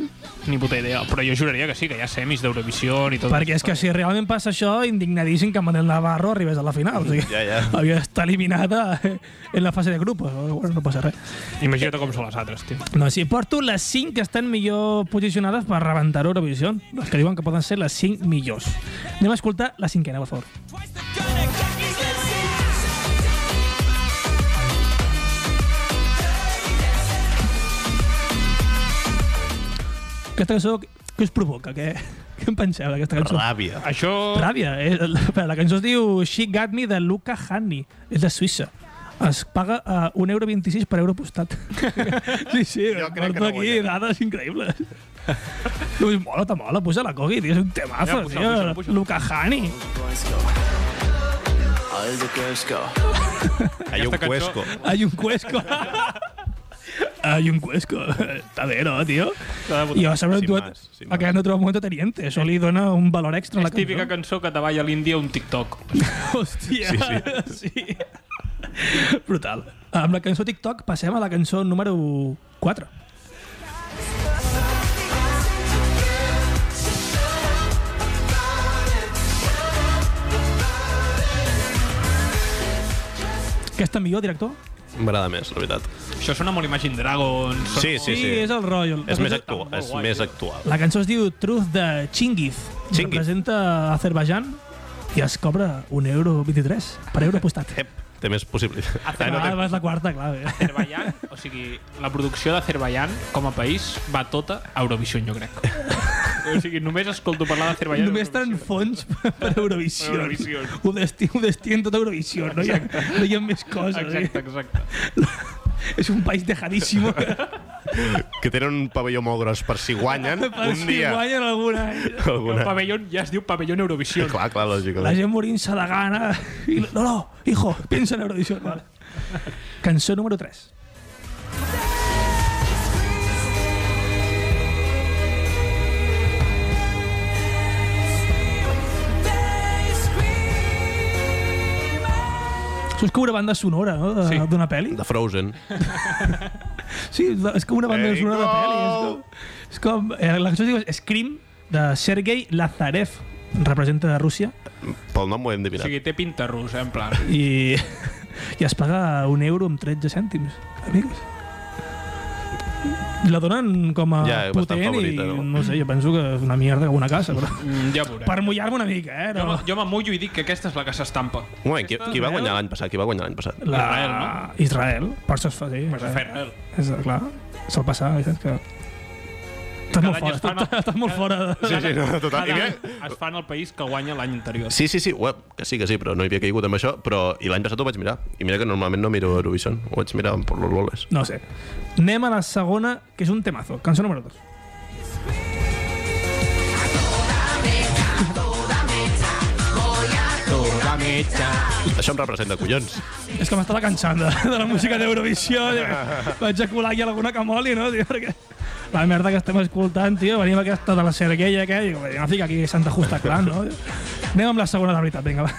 Ni puta idea. Però jo juraria que sí, que hi ha semis d'Eurovisió i tot.
Perquè és que si realment passa això, indignadíssim que Manel Navarro arribés a la final. O sigui,
Ja, ja.
Havia d'estar eliminada en la fase de grupos. Bueno, no passa res.
Imagina't com són les altres, tio.
No, sí, porto les 5 que estan millor posicionades per rebentar Eurovisió. Les que diuen que poden ser les 5 millors. Anem a escoltar la cinquena, per favor. Aquesta cançó, què us provoca? Què, Què en penseu d'aquesta cançó?
Ràbia.
Això...
Ràbia. Eh? La, la cançó es diu She Got Me de Luca Hanni. És de Suïssa. Es paga a 1,26 euro per euro postat. sí, sí,
Jo crec que
porto
no
aquí
guanyaré.
dades increïbles. Dius, mola, te mola, puja la Coqui, tio, és un temazo,
Ja, puja-la,
tio.
puja-la, puja-la.
Luca Hanni.
Boys go. All the girls go.
Hay un
Aquesta cançó-
cuesco.
Hay un cuesco. Hay un cuesco. Està bé, no, tio?
Està de puta
I a sobre un
Sin
duet
más, sin
a que no trobo molt teniente. Això li dona un valor extra a la
És típica cançó que te balla a l'Índia un TikTok.
Hòstia, sí. sí. Brutal. Amb la cançó TikTok passem a la cançó número 4. Aquesta millor, director?
M'agrada més, la veritat.
Això sona molt Imagine Dragons. sona
Sí,
molt-
sí, sí.
és el rotllo.
És més
La cançó-
actual.
molt
És
guai,
més
tio.
actual.
La cançó es diu Truth de Chingiz.
Chingiz.
Representa Azerbaijan i es cobra un euro 23 per euro apostat.
Ep, té més possibilitats.
eh,
Ah,
Ai,
no,
Eh, no té...
és la quarta, clar. Bé.
Azerbaiyán, o sigui, la producció d'Azerbaiyán com a país va tota a Eurovision, jo crec. o sigui, només escolto parlar d'Azerbaiyán.
Només tenen fons per Eurovisió.
Per eh, Eurovisió.
Ho destí, ho destí en tot Eurovisió. No hi, ha, no hi ha més coses.
Exacte, exacte.
Eh? És un país dejadísimo.
Que tenen un pavelló molt gros per si guanyen
per
un
si
dia.
guanyen algun any.
El
Alguna...
pavelló ja es diu pavelló Eurovision.
Clar, clar, lògic.
La gent morint-se de gana. I, no, no, hijo, piensa en Eurovisió. Vale. Cançó número 3. Això és com una banda sonora, no? de-
Sí.
D'una sí. pel·li.
De Frozen.
Sí, és com una banda
There you
sonora de
go.
pel·li. És com... És com eh, la cançó es diu Scream, de Sergei Lazarev. Representa Rússia.
Pel nom ho hem
O
endevinat.
sigui, té pinta rus, eh, en plan.
I, i es paga un euro amb 13 cèntims, amigos. La donen com a
Ja, bastant
potent
favorita,
i
no?
no? sé, jo penso que és una mierda com una casa, però...
Mm, ja veurem.
Per mullar-me una mica, eh?
Jo,
No?
me- jo m'amullo i dic que aquesta és la que s'estampa.
Un moment, qui, qui va guanyar l'any passat? Qui va guanyar l'any passat?
La...
Israel,
no? Israel, per això es fa, sí. Israel.
Ferrel.
És, clar, sol passar, la veritat que... Estàs
Cada
molt
any
fora,
es fan
estàs,
el-
estàs molt fora. De...
Sí, sí, no, total. I
Cada
mira,
any es fa en el país que guanya l'any anterior.
Sí, sí, sí, ué, que sí, que sí, però no hi havia caigut amb això, però i l'any passat ho vaig mirar. I mira que normalment no miro Eurovision, ho vaig mirar per los loles.
No sé. Anem a la segona, que és un temazo. Cançó número 2.
Això em representa, collons.
És que m'estava cansant de, de la música d'Eurovisió. tio. Vaig a colar aquí alguna que moli, no? Tio, perquè la merda que estem escoltant, tio, venim aquesta de la Sergueia, que dic, "Vale, no fica aquí Santa Justa Clan, no? Anem amb la segona de veritat, vinga, va.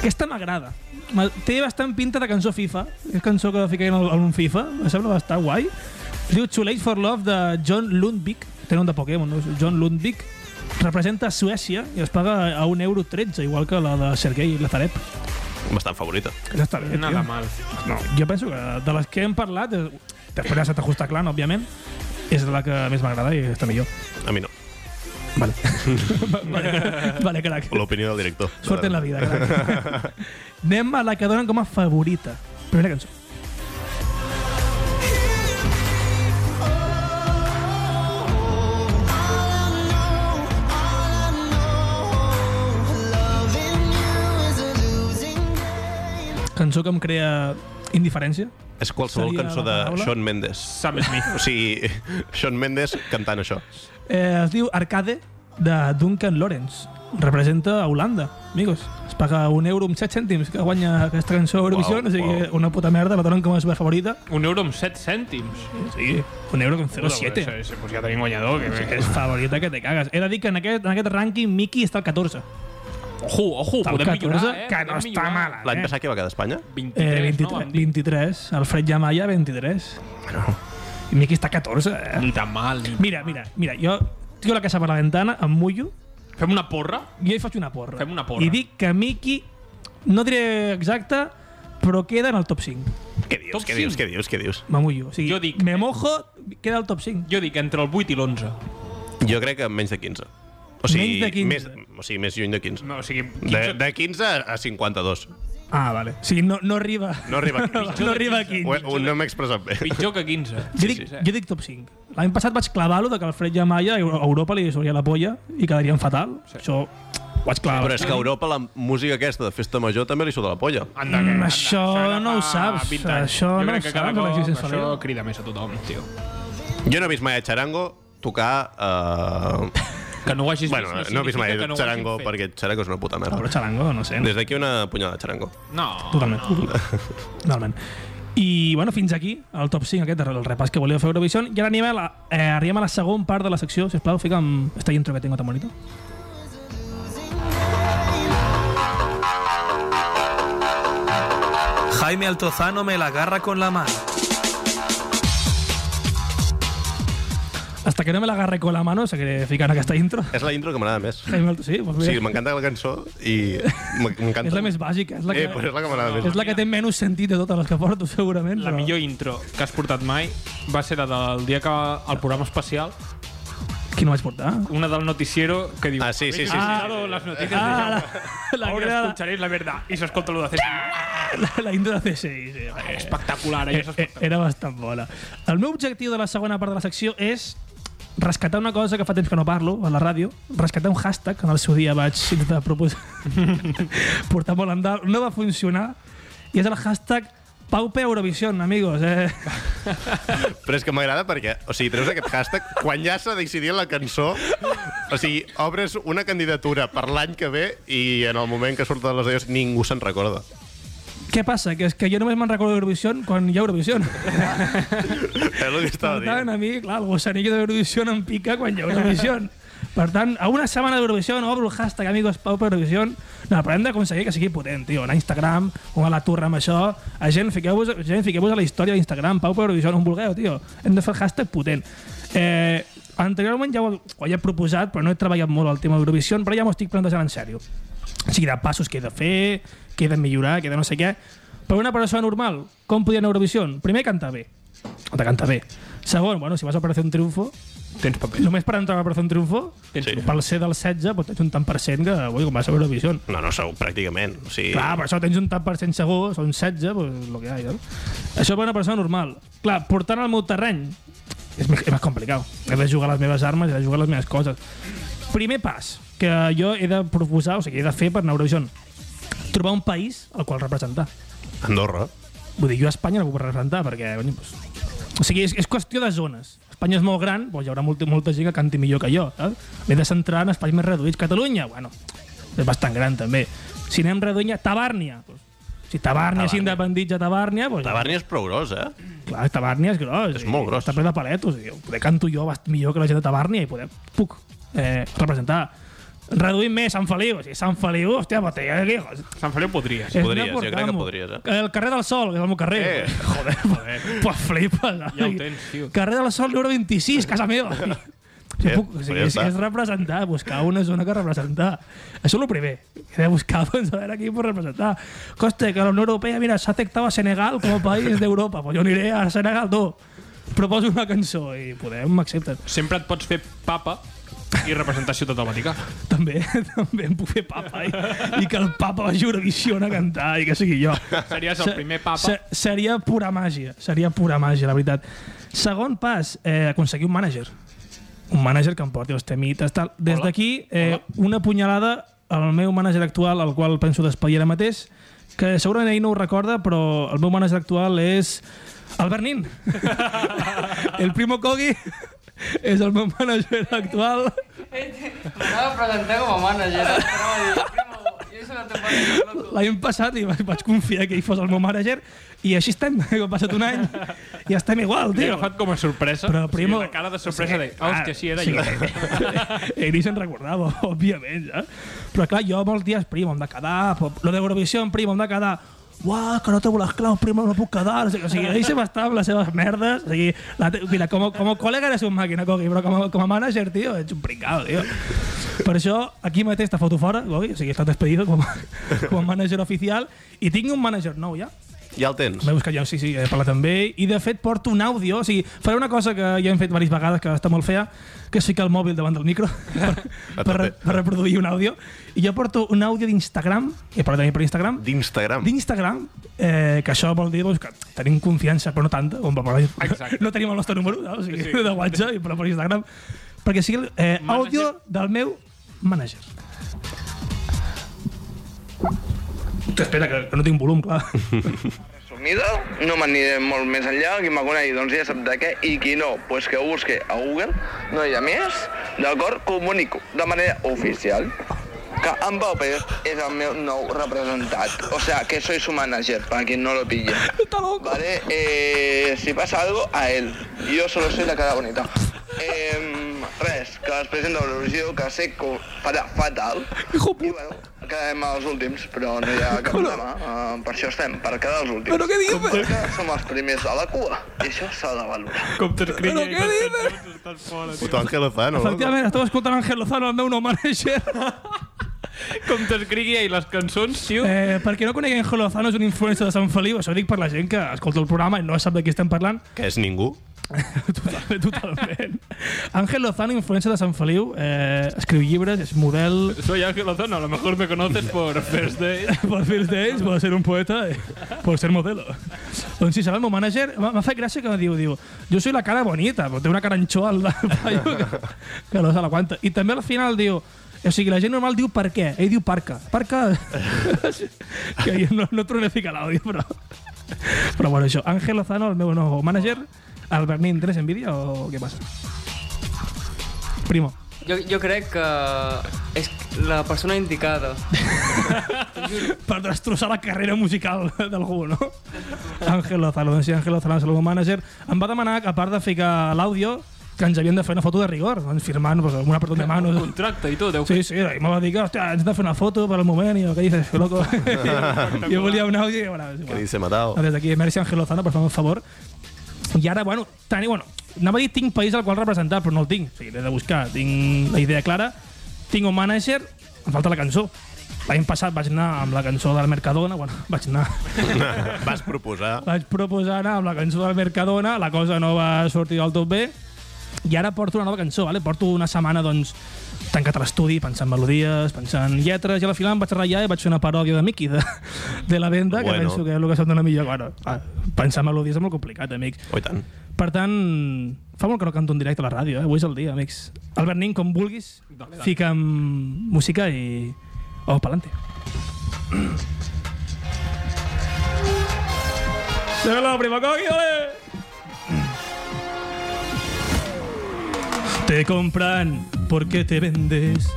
Aquesta m'agrada. Me- Té bastant pinta de cançó FIFA. És cançó que fiqué en, el, en un FIFA. Em sembla bastant guai. Es diu Too Late for Love de John Lundvik. Té nom de Pokémon, no? John Lundvik. Representa Suècia i es paga a 1,13 euro, igual que la de Sergei Lazarep.
Bastant favorita.
Ja està bé,
Nada
tio.
mal.
No, jo penso que de les que hem parlat, eh, després de Santa Justa Clan, òbviament, és la que més m'agrada i està millor.
A mi no.
Vale. vale, vale, crac.
L'opinió del director.
Sort en la vida, crac. Anem a la que donen com a favorita. Primera cançó. Cançó que em crea indiferència.
És qualsevol
Seria
cançó
la
de
paraula?
Shawn Mendes.
Sam Smith.
O sigui, Shawn Mendes cantant això.
Eh, es diu Arcade, de Duncan Lawrence. Representa a Holanda, amigos. Es paga un euro amb 7 cèntims que guanya aquesta cançó a Eurovisió,
Uau,
o sigui que
uau.
una puta merda, la donen com a super favorita.
Un euro amb 7 cèntims.
Sí, un euro amb
Joder,
0,7.
això- això, Pues ja tenim guanyador. Que...
És favorita que te cagas. He de dir que en aquest, en aquest rànquing Miki està al 14.
Ojo, ojo,
Està al
podem
14,
millorar, eh?
que
podem
no està
millorar.
mala.
L'any
eh?
passat què va quedar a Espanya?
23,
Eh,
no?
23,
Vam dir.
23. Alfred Yamaya, 23. I Miki està a 14, eh?
Ni tan mal. Ni...
Mira, mira, mira, jo tiro la casa per la ventana, em mullo,
Fem una porra?
Jo hi faig una porra.
Fem una porra.
I dic que Miki, no diré exacte, però queda en el top 5.
Què dius,
Top
què dius,
cinc.
què dius, què dius?
Me mullo. O sigui,
Jo dic- eh?
Me mojo, queda al top 5.
Jo dic entre el 8 i l'11.
Jo crec que menys de 15. O sigui,
Menys de 15.
Més, O sigui, més lluny de 15.
No, o sigui, 15,
De, de 15 a 52.
Ah, vale. O sigui, no, no arriba...
No arriba a 15.
no arriba aquí.
Ho, he- ho, no m'he expressat bé.
pitjor que 15.
Jo dic, jo dic top 5. L'any passat vaig clavar-lo de que el Fred Yamaya a Europa li solia la polla i quedarien fatal. Sí. Això ho vaig clavar.
Però és que a Europa la música aquesta de festa major també li sota la polla.
Anda, que,
Mm, això
era
no ho
fa
saps,
20 anys.
això
jo
no
crec
ho
que cada
saps, Alexis
cop
Sanchez.
això crida més a tothom, tio.
Jo no he vist mai a Charango tocar... Eh...
Que no ho hagis
Bueno,
vist
no he vist mai
significa que no ho
Charango
hagin fet.
perquè Charango és una puta
Ah, Però
merda.
xarango, no sé.
Des d'aquí una punyada de Charango.
No,
Totalment. Totalment. I, bueno, fins aquí, el top 5 aquest, el repàs que volia fer a Eurovision. I ara anem a la, eh, arribem a la segona part de la secció. Sisplau, fica'm esta intro que tengo tan bonito.
Jaime Altozano me la agarra con la mano.
Hasta que no me la agarre con la mano, seguiré ficant aquesta intro.
És la intro que m'agrada més.
Jaime Alto, sí, pues
O
mira.
sigui, m'encanta la cançó i m'en- m'encanta...
és la més bàsica, és la que,
Eh, però és la que m'agrada
és
més.
la que té menys sentit de totes les que porto, segurament.
la
però-
millor intro que has portat mai va ser la del dia que va al programa especial,
Qui no vaig portar?
una del noticiero que diu...
Ah, sí, sí, sí, sí,
"Habéis
sí,
escuchado las noticias
Ah, la,
de
la,
Ahora
la,
escucharéis la verdad. I s'escolta lo de hacer...
la, la intro de CSI. Sí, eh,
Espectacular, allò és
eh, era bastant bona. El meu objectiu de la segona part de la secció és rescatar una cosa que fa temps que no parlo a la ràdio, rescatar un hashtag que en el seu dia vaig intentar proposar portar molt endavant, no va funcionar i és el hashtag Paupe Eurovision, amigos. Eh?
Però és que m'agrada perquè, o sigui, treus aquest hashtag quan ja s'ha decidit la cançó, o sigui, obres una candidatura per l'any que ve i en el moment que surten les dades ningú se'n recorda.
Què passa? Que és que jo només me'n recordo d'Eurovision quan hi ha Eurovision.
És el que estava
Per tant,
dient.
a mi, clar, el gossanillo d'Eurovisió em pica quan hi ha Eurovisió. Per tant, a una setmana d'Eurovisió no obro el hashtag amigos Pau per Eurovisió. No, però hem d'aconseguir que sigui potent, tio. Anar a Instagram, o a la turra amb això. A gent, fiqueu-vos gent, fiqueu a la història d'Instagram, Pau per Eurovisió, on vulgueu, tio. Hem de fer el hashtag potent. Eh, anteriorment ja ho, ho havia proposat, però no he treballat molt el tema d'Eurovisió, però ja m'ho estic plantejant en sèrio. O sigui, de passos que he de fer, que he de millorar, que he de no sé què. Per una persona normal, com podia anar a Eurovisió? Primer, cantar bé. O te canta bé. Segon, bueno, si vas a Operación Triunfo,
Tens paper.
només per entrar a Operación Triunfo,
Tens
sí.
paper.
pel ser del 16, doncs tens un tant per cent que, ui, com vas a Eurovisió.
No, no sou, pràcticament. O sigui,
Clar, per això tens un tant per cent segur, són 16, doncs lo que hay, no? Això per una persona normal. Clar, portant al meu terreny és més, és més complicat. He de jugar les meves armes, he de jugar les meves coses. Primer pas que jo he de proposar, o sigui, he de fer per anar a Eurovisió, trobar un país al qual representar.
Andorra.
Vull dir, jo a Espanya no puc representar, perquè... Bueno, doncs, o sigui, és, és qüestió de zones. Espanya és molt gran, doncs hi haurà molta, molta gent que canti millor que jo. Eh? M'he de centrar en espais més reduïts. Catalunya, bueno, és bastant gran també. Si anem reduint a Tabàrnia, doncs, si Tabàrnia s'independitza Tabàrnia... Doncs,
Taverni és prou gros, eh?
Clar, Tabàrnia és gros.
És molt gros.
Està ple de paletos. I poder canto jo bast- millor que la gent de Tabàrnia i poder puc eh, representar. Reduïm més Sant Feliu. O sigui, Sant Feliu, hòstia, però té eh, lejos.
Sant Feliu podries.
És
Podries,
anar
jo crec que
portant-m'ho.
podries, eh?
El carrer del Sol, que és el meu carrer.
Eh.
Joder, joder. Pues flipes. eh?
Ja ho tens, tio.
Carrer del Sol, número 26, casa meva. Si
Eh,
puc, o
pues
sigui,
ja
és,
està.
és representar, buscar una zona que representar. Això és el primer. He de buscar, doncs, a veure qui pot representar. Coste, que la Unió Europea, mira, s'ha afectat a Senegal com a país d'Europa. Pues jo aniré a Senegal, tu. Proposo una cançó i podem, m'accepten.
Sempre et pots fer papa i representar Ciutat del Vaticà.
També, també em puc fer papa i, i que el papa vagi a Eurovisió a cantar i que sigui jo.
Series el
Se-
primer papa.
se- seria pura màgia, seria pura màgia, la veritat. Segon pas, eh, aconseguir un mànager. Un mànager que em porti els temites, tal. Des d'aquí, eh, una punyalada al meu mànager actual, al qual penso despedir ara mateix, que segurament ell no ho recorda, però el meu mànager actual és Albert Nin. el primo Kogi és el meu mànager actual.
M'anava a presentar com a manager. Però va dir, primo, jo soy la temporada loco.
L'any passat i vaig, vaig confiar que ell fos el meu mànager i així estem, ha passat un any i estem igual,
L'he
tio.
agafat com a sorpresa.
Però,
O sigui,
primo,
la cara de sorpresa de... Ah, hòstia, sí, era
sí.
jo.
Ell ni se'n recordava, òbviament, eh? Però clar, jo molts dies, primo, em de quedar, po- lo d'Eurovisió, primo, em de quedar, uah, que no tengo les claus, primo, no puc quedar. O sigui, o sigui ell sempre estava amb les seves merdes. O sigui, la te... Mira, com, a- com a col·lega eres un màquina, Coqui, però com a, com a mànager, tio, ets un pringao, tio. Per això, aquí mateix te foto fora, Coqui, o sigui, estàs despedido com a, com a mànager oficial, i tinc un mànager nou, ja.
Ja el tens.
M'he buscat jo, sí, sí, he parlat amb ell. I, de fet, porto un àudio. O sigui, faré una cosa que ja hem fet diverses vegades, que està molt fea, que és ficar el mòbil davant del micro per, per, re- per reproduir un àudio. I jo porto un àudio d'Instagram, he parlat també per Instagram,
D'Instagram.
d'Instagram, eh, que això vol dir doncs, que tenim confiança, però no tanta, on va parlar.
Exacte.
No tenim el nostre número, no? o sigui, sí. de WhatsApp, però per Instagram. Perquè sigui el, eh, àudio del meu manager. Hòstia, Espera, que, que no tinc volum, clar.
resumida, no m'aniré molt més enllà, qui me conegui doncs ja sap de què, i qui no, pues que ho busque a Google, no hi ha més, d'acord? Comunico de manera oficial que en Pau Pérez és el meu nou representat, o sea, que soy su manager, para quien no lo pille.
Está loco.
Vale, eh, si pasa algo, a él. Yo solo soy la cara bonita. Eh, res, que es presenta a l'Eurovisió, que sé que ho farà fatal.
Hijo
I bueno, quedem els últims, però no hi ha cap problema. Uh, per això estem, per quedar els últims.
Però què dius?
Perquè som els primers a la cua, i això s'ha de valorar.
Com t'escriu
Però què dices?
Puto Ángel Lozano.
Efectivament, estava escoltant Ángel Lozano, el meu nou manager.
Com t'escrigui i les cançons, tio.
Eh, per qui no conegui Ángel Lozano, és un influencer de Sant Feliu. Això ho dic per la gent que escolta el programa i no sap de qui estem parlant.
Que és ningú.
Totalment, totalment. Ángel Lozano, influencer de Sant Feliu, eh, escriu llibres, és model...
Soy Ángel Lozano, a lo mejor me conoces por First Day.
Por First Days, por ser un poeta, eh, por ser modelo. Doncs sí, serà el meu manager. M'ha m'ha fet gràcia que diu, diu, jo soy la cara bonita, però té una cara anxoa al paio que, que no se l'aguanta. I també al final diu, o sigui, la gent normal diu per què, ell diu parca. Parca... que jo no, no tornaré a ficar l'àudio, però... Però bueno, això, Ángel Lozano, el meu nou manager, el Bernin, tens envidia o què passa? Primo.
Jo, jo crec que és la persona indicada.
per destrossar la carrera musical d'algú, no? Ángel Lozano, doncs sí, Ángel Lozano és el meu mànager. Em va demanar que, a part de ficar l'àudio, que ens havien de fer una foto de rigor, doncs firmant pues, amb un apretón de manos.
Contracte i tot, heu
Sí, sí, i me va dir que, hòstia, ens hem de fer una foto per al moment, i jo, què dices, loco? jo volia un àudio, i bueno, és
Que
igual.
dice matado.
Des d'aquí, merci Ángel Lozano per fer un favor. I ara, bueno, teni, bueno, anava a dir tinc país al qual representar, però no el tinc. O sigui, l'he de buscar, tinc la idea clara, tinc un manager, em falta la cançó. L'any passat vaig anar amb la cançó del Mercadona, bueno, vaig anar,
Vas proposar...
vaig proposar anar amb la cançó del Mercadona, la cosa no va sortir del tot bé, i ara porto una nova cançó, vale? porto una setmana doncs, tancat a l'estudi, pensant melodies, pensant lletres, i a la final em vaig ratllar i vaig fer una paròdia de Mickey de, de la venda, que
Bueno.
penso que és el que se'm dona millor. Bueno, ah, pensar melodies és molt complicat, amics.
Oh, i tant.
Per tant, fa molt que no canto en directe a la ràdio, eh? avui és el dia, amics. Albert Nin, com vulguis, fica'm música i... O oh, pa'lante. Dímelo, primo Coqui, ole! Te compran porque te vendes.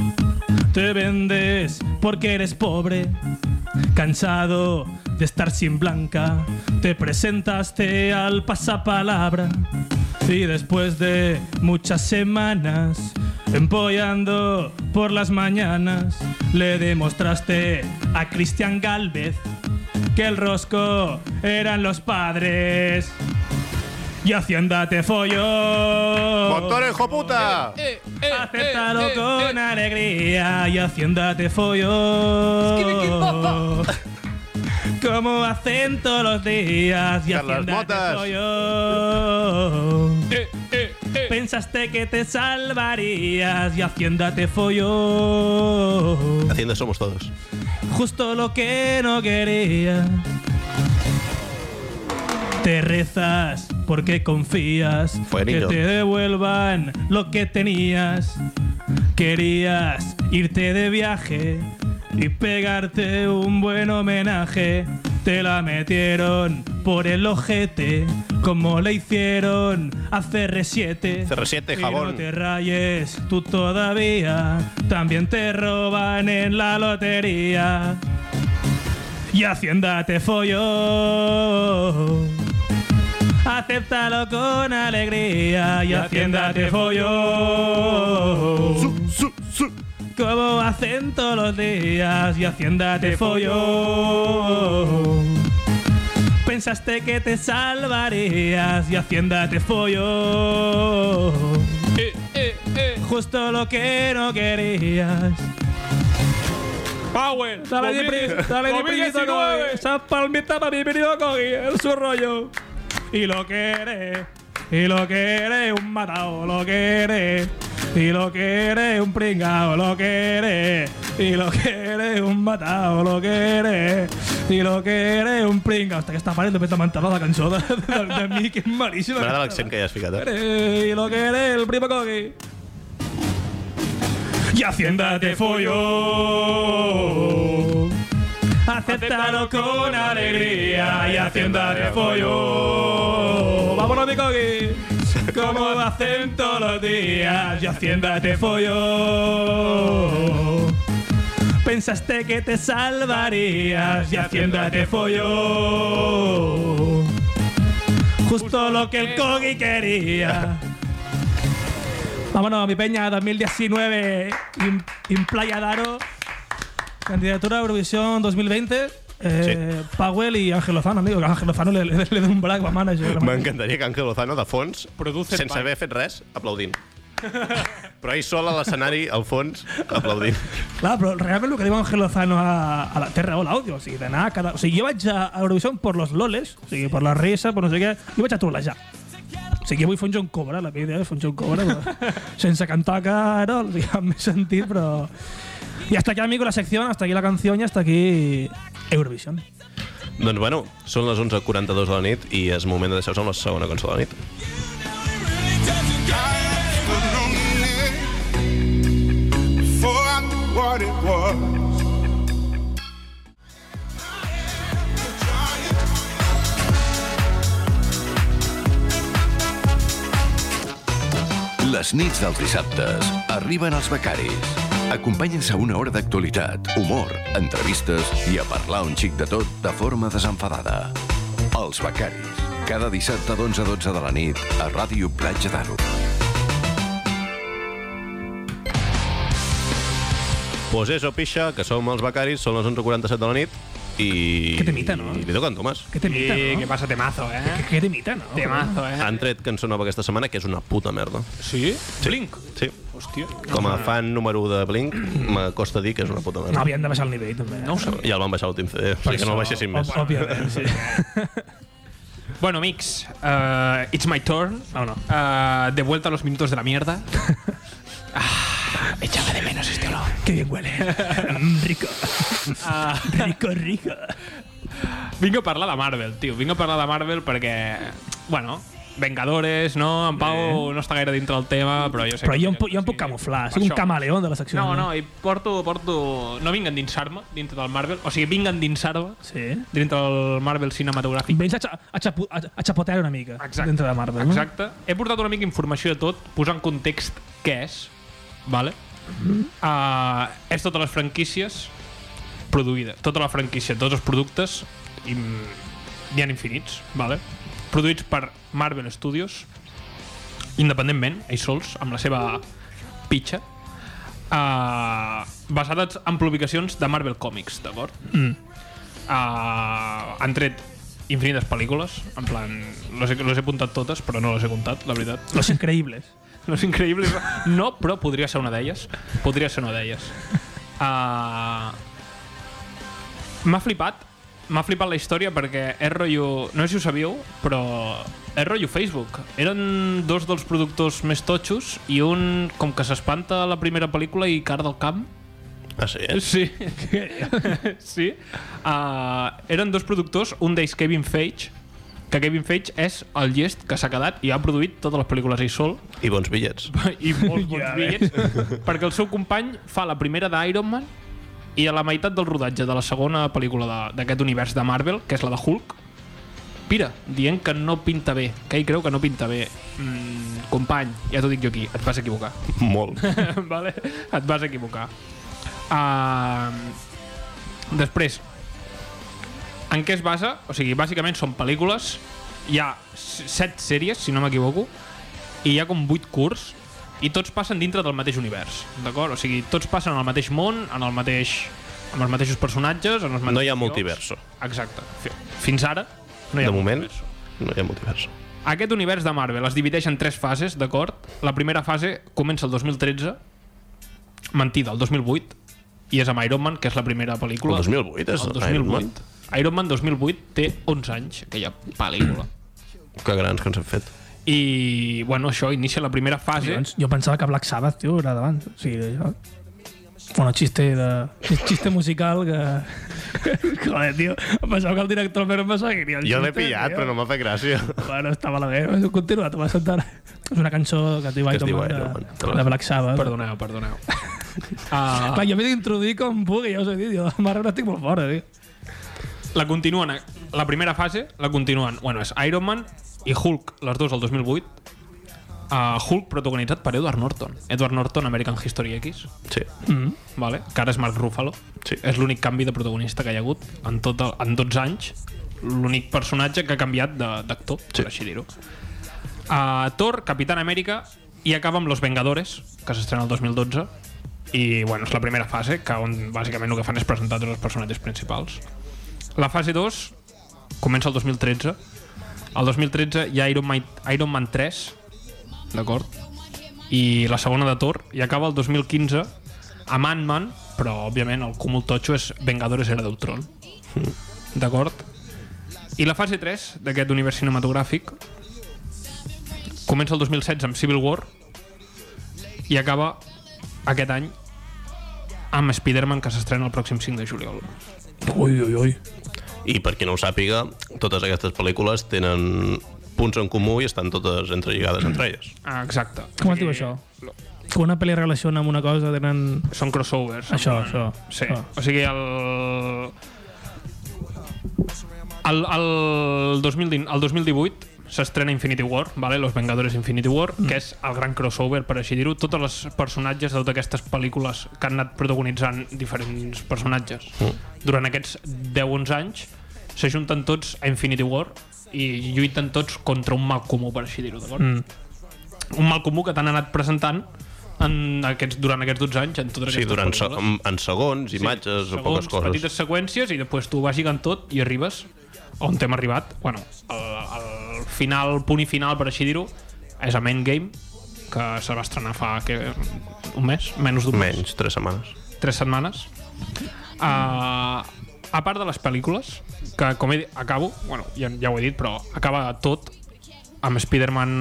Te vendes porque eres pobre. Cansado de estar sin blanca, te presentaste al pasapalabra. Y después de muchas semanas empollando por las mañanas, le demostraste a Cristian Galvez que el rosco eran los padres. Y Hacienda te folló.
Montoro, hijo puta!
Eh,
Acéptalo con alegría y Hacienda te folló. Como hacen todos los días y
Carlas
Hacienda
Motas.
te folló.
Eh, eh, eh.
Pensaste que te salvarías y Hacienda te folló.
Hacienda somos todos.
Justo lo que no quería. Te rezas porque confías
Fue
que
niño.
te devuelvan lo que tenías. Querías irte de viaje y pegarte un buen homenaje. Te la metieron por el ojete, como le hicieron a CR7.
CR7,
Y
jabón.
no te rayes, tú todavía. También te roban en la lotería. Y Hacienda te folló. Acéptalo con alegría y Hacienda te folló. Como hacen todos los días y Hacienda te folló. Pensaste que te salvarías y Hacienda te folló. Justo lo que no querías.
Power.
Dale de pris, dale de pris, Cogi. Esa palmita para mi querido Cogi, el su rollo. Y lo quiere, y lo quiere un matado, lo quiere. Y lo quiere un pringao, lo quiere. Y lo quiere un matado, lo quiere. I lo quiere un pringao. Hasta aquesta part només lamentar la cançó de, de, de mi, que és malíssima.
M'agrada l'accent que hi has ficat, eh?
Eh, Y lo quiere el primo Cogi. Y Hacienda te folló. Acéptalo con alegría y Hacienda te folló. Vámonos, mi Cogi. Como lo hacen todos los días y Hacienda te folló. Pensaste que te salvarías y Hacienda te folló. Justo lo que el Cogi quería. Vámonos, mi peña, 2019, in, in Playa Daro, candidatura a Eurovisión 2020. Eh, Powell y Ángel Lozano, amigo. que a Ángel Lozano le, le, le doy un brac a manager.
M'encantaria que Ángel Lozano, de fons,
Produce
sense
pan.
haver fet res, aplaudint. Però ell sol a l'escenari, al fons, aplaudint.
Clar, però realment el que diu Ángel Lozano a, a la Terra o l'àudio, o sigui, d'anar a cada... O sigui, jo vaig a Eurovisión per los loles, o sigui, per la risa, per no sé què, jo vaig a trolejar. O sigui, avui fa un John Cobra, la meva idea és fer un John Cobra, però sense cantar Carol, o sigui, amb més sentit, però... I hasta aquí, amigo, la secció, hasta aquí la canción i hasta aquí Eurovisión.
doncs, bueno, són les 11.42 de la nit i és moment de deixar-vos amb la segona cançó de la nit.
Before I knew what it was.
Les nits dels dissabtes arriben els becaris. Acompanyen-se a una hora d'actualitat, humor, entrevistes i a parlar un xic de tot de forma desenfadada. Els becaris. Cada dissabte d'11 a 12 de la nit a Ràdio Platja d'Aro.
Pues eso, pixa, que som els becaris, són les 11.47 de la nit i... Que temita, no? I li toca en Tomàs.
Que temita, no?
Que pasa temazo, eh?
Que, que temita, no?
Temazo, eh?
Han tret cançó nova aquesta setmana, que és una puta merda.
Sí? Blink?
Sí.
Hòstia.
Com a fan número 1 de Blink, m'acosta dir que és una puta
No,
merda.
havien de baixar el nivell, també. No ho sabia.
Ja el van baixar l'últim CD, o sigui que no el baixessin més.
Òbviament, sí.
Bueno, amics, eh, it's my turn.
No, no.
Eh, de vuelta a los minutos de la mierda. ah, echaba de menos este olor.
Qué bien huele. Mm, rico. rico, rico.
Vinc Ah, a parlar de Marvel, tio. Vinc a parlar de Marvel perquè, bueno, Vengadores, no? En Pau no està gaire dintre el tema, però jo sé
Però
que...
jo em, puc- jo em puc camuflar,
Per
soc un
això.
camaleón de la secció.
No, no, i porto, porto... No vinc a endinsar-me dintre del Marvel, o sigui, vinc a endinsar-me
Sí.
dintre del Marvel cinematogràfic.
Vens a, xa- a, xapu- a, a xapotear una mica
Exacte.
dintre de Marvel. no?
Exacte. He portat una mica informació de tot, posar en context què és, vale? Uh, és totes les franquícies produïdes, tota la franquícia, tots els productes, i n'hi ha infinits, vale? produïts per Marvel Studios, independentment, ells sols, amb la seva pitxa, uh, basades en publicacions de Marvel Comics, d'acord?
Mm.
uh, han tret infinites pel·lícules, en plan, les he, les he apuntat totes, però no les he comptat, la veritat.
Los Increíbles.
Los Increïbles no, però podria ser una d'elles. Podria ser una d'elles. Uh, M'ha flipat M'ha flipat la història perquè és rotllo... No sé si ho sabíeu, però és rotllo Facebook. Eren dos dels productors més totxos i un com que s'espanta a la primera pel·lícula i car del camp.
Ah, sí, eh?
Sí. sí. Uh, eren dos productors, un d'ells Kevin Feige, que Kevin Feige és el llest que s'ha quedat i ha produït totes les pel·lícules ell sol
I bons bitllets.
i molts bons
Ja, eh?
bitllets perquè el seu company fa la primera d'Iron Man i a la meitat del rodatge de la segona pel·lícula de- d'aquest univers de Marvel, que és la de Hulk, pira, dient que no pinta bé, que ell creu que no pinta bé. Mm, company, ja t'ho dic jo aquí, et vas equivocar.
Molt.
vale? Et vas equivocar. Uh, després, en què es basa? O sigui, bàsicament són pel·lícules, hi ha s- set sèries, si no m'equivoco, i hi ha com vuit curts, i tots passen dintre del mateix univers, d'acord? O sigui, tots passen al mateix món, en el mateix amb els mateixos personatges, en els mateixos
No hi ha
llocs.
multiverso.
Exacte. Fi- Fins ara no hi ha
De moment,
multiverso.
no hi ha multiverso.
Aquest univers de Marvel es divideix en tres fases, d'acord? La primera fase comença el 2013, mentida, el 2008, i és amb Iron Man, que és la primera pel·lícula.
El 2008 és
El
Iron
2008.
Man?
Iron Man 2008 té 11 anys, aquella pel·lícula.
Que grans que ens han fet.
I, bueno, això inicia la primera fase.
Collons, jo pensava que Black Sabbath, tio, era d'abans. O sigui, jo... Bueno, xiste, de... xiste musical que... Joder, tio, em pensava que el director però em pensava que
Jo l'he pillat, però no m'ha fet gràcia.
Bueno, està malament. Continua, t'ho vas sentar. És una cançó que es diu
Que es
Iron
diu
Man,
Iron Man.
de, de Black Sabbath.
Perdoneu, perdoneu.
Ah. Clar, jo m'he d'introduir com pugui, ja us he dit. Jo de marbre estic molt fora, tio.
La continuen, la primera fase la continuen, bueno, és Iron Man i Hulk, les dues el 2008. Uh, Hulk protagonitzat per Edward Norton. Edward Norton, American History X.
Sí.
Mm. Vale, que ara és Mark Ruffalo. Sí. És l'únic canvi de protagonista que hi ha hagut en, tot el, en 12 anys. L'únic personatge que ha canviat de- d'actor, sí. per així dir-ho. Uh, Thor, Capitán Amèrica, i acaba amb Los Vengadores, que s'estrena el 2012. I, bueno, és la primera fase, que on bàsicament el que fan és presentar tots els personatges principals. La fase 2 comença el 2013. El 2013 hi ha Iron Man, Iron Man 3, d'acord? I la segona de Thor, i acaba el 2015 amb Ant-Man, però, òbviament, el cúmul totxo és Vengadores era d'Ultron. D'acord? I la fase 3 d'aquest univers cinematogràfic comença el 2016 amb Civil War i acaba aquest any amb Spider-Man que s'estrena el pròxim 5 de juliol.
Ui, ui, ui.
I per qui no ho sàpiga, totes aquestes pel·lícules tenen punts en comú i estan totes entrelligades entre elles.
Ah, exacte.
Com
Eh,
es diu això? Quan una pel·li es relaciona amb una cosa, tenen...
Són crossovers.
Això,
en plan.
això. Ah.
Sí.
això.
O sigui, el... El, el, 2019, el 2018 s'estrena Infinity War, vale? Los Vengadores Infinity War, mm. que és el gran crossover, per així dir-ho. Totes les personatges de totes aquestes pel·lícules que han anat protagonitzant diferents personatges mm. durant aquests 10-11 anys s'ajunten tots a Infinity War i lluiten tots contra un mal comú, per així dir-ho, d'acord?
Mm.
Un mal comú que t'han anat presentant en aquests, durant aquests 12 anys en totes
Sí,
aquestes
durant se en,
pel·lícules
en segons, imatges o poques
segons,
coses.
petites seqüències i després tu vas lligant tot i arribes on t'hem arribat. Bueno, el, el final, el punt i final, per així dir-ho, és a Endgame, que se va estrenar fa que, un mes, menys d'un mes.
Menys, tres setmanes.
Tres setmanes. Uh, a part de les pel·lícules, que com he dit, acabo, bueno, ja, ja ho he dit, però acaba tot amb Spider-Man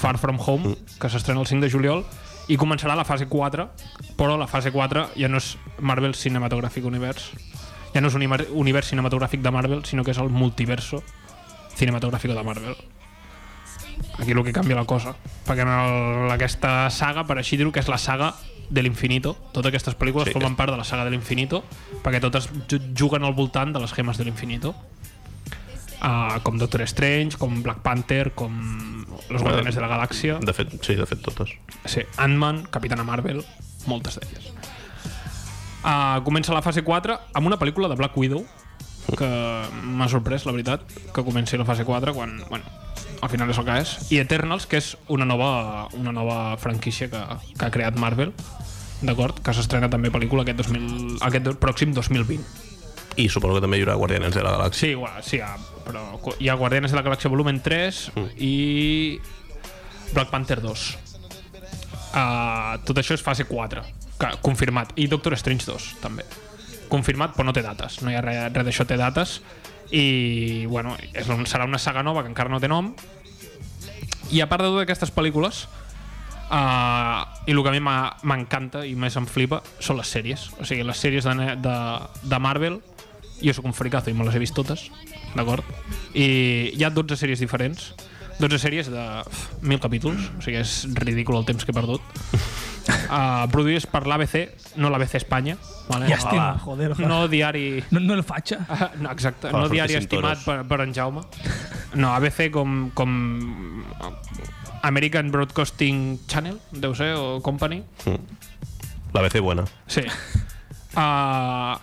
Far From Home, que s'estrena el 5 de juliol, i començarà la fase 4, però la fase 4 ja no és Marvel Cinematographic Universe, ja no és un imer- univers cinematogràfic de Marvel, sinó que és el multiverso cinematogràfic de Marvel. Aquí el que canvia la cosa. Perquè en el, aquesta saga, per així dir-ho, que és la saga de l'infinito. Totes aquestes pel·lícules
Sí,
sí, formen part de la saga de l'infinito, perquè totes ju- juguen al voltant de les gemes de l'infinito. Uh, com Doctor Strange, com Black Panther, com Los Guardianes de la Galàxia.
De fet, sí, de fet, totes.
Sí, Ant-Man, Capitana Marvel, moltes d'elles. Uh, comença la fase 4 amb una pel·lícula de Black Widow, que m'ha sorprès, la veritat, que comenci la fase 4 quan, bueno, al final és el que és. I Eternals, que és una nova, una nova franquícia que, que ha creat Marvel, d'acord? Que s'estrena també pel·lícula aquest, 2000, aquest do- pròxim 2020.
I suposo que també hi haurà Guardianes de la Galàxia.
Sí, igual, sí, ah, però co- hi ha Guardianes de la Galàxia volumen 3 i Black Panther 2. Uh, tot això és fase 4, que, confirmat. I Doctor Strange 2, també. Confirmat, però no té dates. No hi ha res, res d'això, té dates. I, bueno, és, un- serà una saga nova que encara no té nom. I a part de totes aquestes pel·lícules, Uh, I el que a mi m'ha- m'encanta i més em flipa són les sèries. O sigui, les sèries de, ne- de, de Marvel, jo sóc un fricazo i me les he vist totes, d'acord? I hi ha 12 sèries diferents. 12 sèries de pf, 1.000 capítols, o sigui, és ridícul el temps que he perdut. Uh, produïdes per l'ABC, no l'ABC Espanya. Vale?
Llàstima, joder, joder.
No diari...
No, no el faig.
Ah, no, exacte,
Fa
no
sortir
diari
cinturos.
estimat per, per en Jaume. No, ABC com, com American Broadcasting Channel, deu ser, o Company.
La BC buena.
Sí. Uh,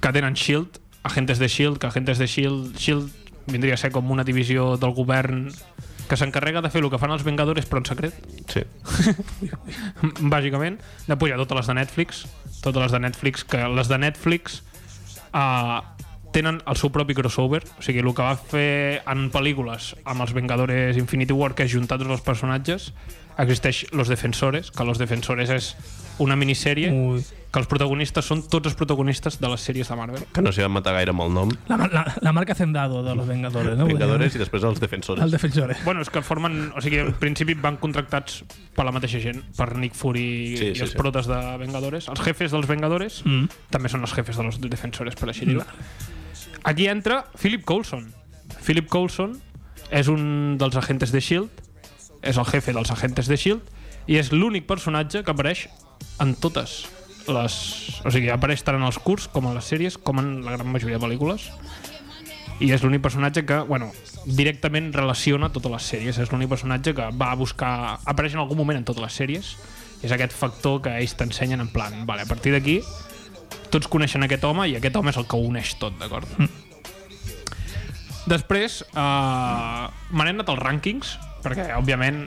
que tenen SHIELD, E agentes de SHIELD, E que agentes de SHIELD... SHIELD E vindria a ser com una divisió del govern que s'encarrega de fer el que fan els Vengadores, però en secret.
Sí.
Bàsicament. Després hi ha totes les de Netflix. Totes les de Netflix, que les de Netflix uh, tenen el seu propi crossover. O sigui, el que va fer en pel·lícules amb els Vengadores Infinity War, que és juntar tots els personatges, existeix Los Defensores, que Los Defensores és una
Eh?
minissèrie
Mm.
Ui. que els protagonistes són tots els protagonistes de les sèries de Marvel.
Que no s'hi van matar gaire amb el nom.
La, la, la marca Zendado de los Vengadores, no? eh.
Vengadores i després els Defensores.
El Defensores.
Bueno, és que formen... O sigui, en principi van contractats per la mateixa gent, per Nick Fury sí, i sí, els sí. protes de Vengadores. Els jefes dels Vengadores mm. també són els jefes de los Defensores, per així dir-ho. Aquí entra Philip Coulson. Philip Coulson és un dels agentes de S.H.I.E.L.D., E és el jefe dels agentes de S.H.I.E.L.D. i és l'únic personatge que apareix en totes les... O sigui, apareix tant en els curts com en les sèries, com en la gran majoria de pel·lícules. I és l'únic personatge que, bueno, directament relaciona totes les sèries. És l'únic personatge que va a buscar... Apareix en algun moment en totes les sèries. I és aquest factor que ells t'ensenyen en plan, vale, a partir d'aquí tots coneixen aquest home i aquest home és el que ho uneix tot, d'acord? Mm. Després, eh, me n'he anat als rànquings, perquè, òbviament,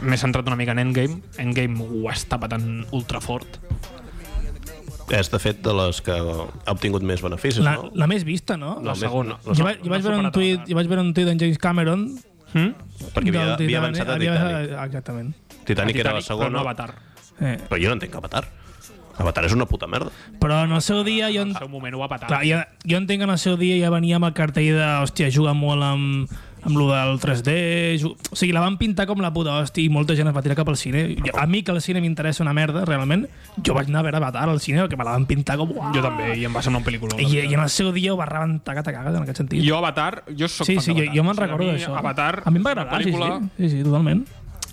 m'he centrat una mica en Endgame. Endgame ho està patant ultra fort.
És, de fet, de les que ha obtingut més beneficis,
La,
no?
la més vista, no?
La segona. La
Jo,
segona.
va, jo, vaig veure un tuit, jo vaig veure un tuit d'en James Cameron
mm?
Perquè havia,
del
havia avançat a Titanic.
avançat- Exactament.
Titanic era la
Titanic,
segona.
però no Avatar.
Eh.
Però jo no entenc Avatar. Avatar és una puta merda.
Però en el seu dia jo... En...
el seu moment ho va patar.
Clar, ja, jo entenc que en el seu dia ja venia amb el cartell de, hòstia, juga molt amb amb lo del 3D... ju- O sigui, la van pintar com la puta hòstia i molta gent es va tirar cap al cine. Jo- A mi, que el cine m'interessa una merda, realment, jo vaig anar a veure Avatar al cine perquè me la van pintar com... Uah!
Jo també, i em va semblar un pel·lícula.
I, I en el seu dia ho va rebentar que t'acagues en aquest sentit.
Jo Avatar, jo sóc
sí,
fan
sí, jo,
d'Avatar.
jo me'n
O sigui,
recordo
a mi
d'això.
Avatar
A mi em va
és una
agradar, sí, sí,
pel·lícula-
sí, sí, totalment.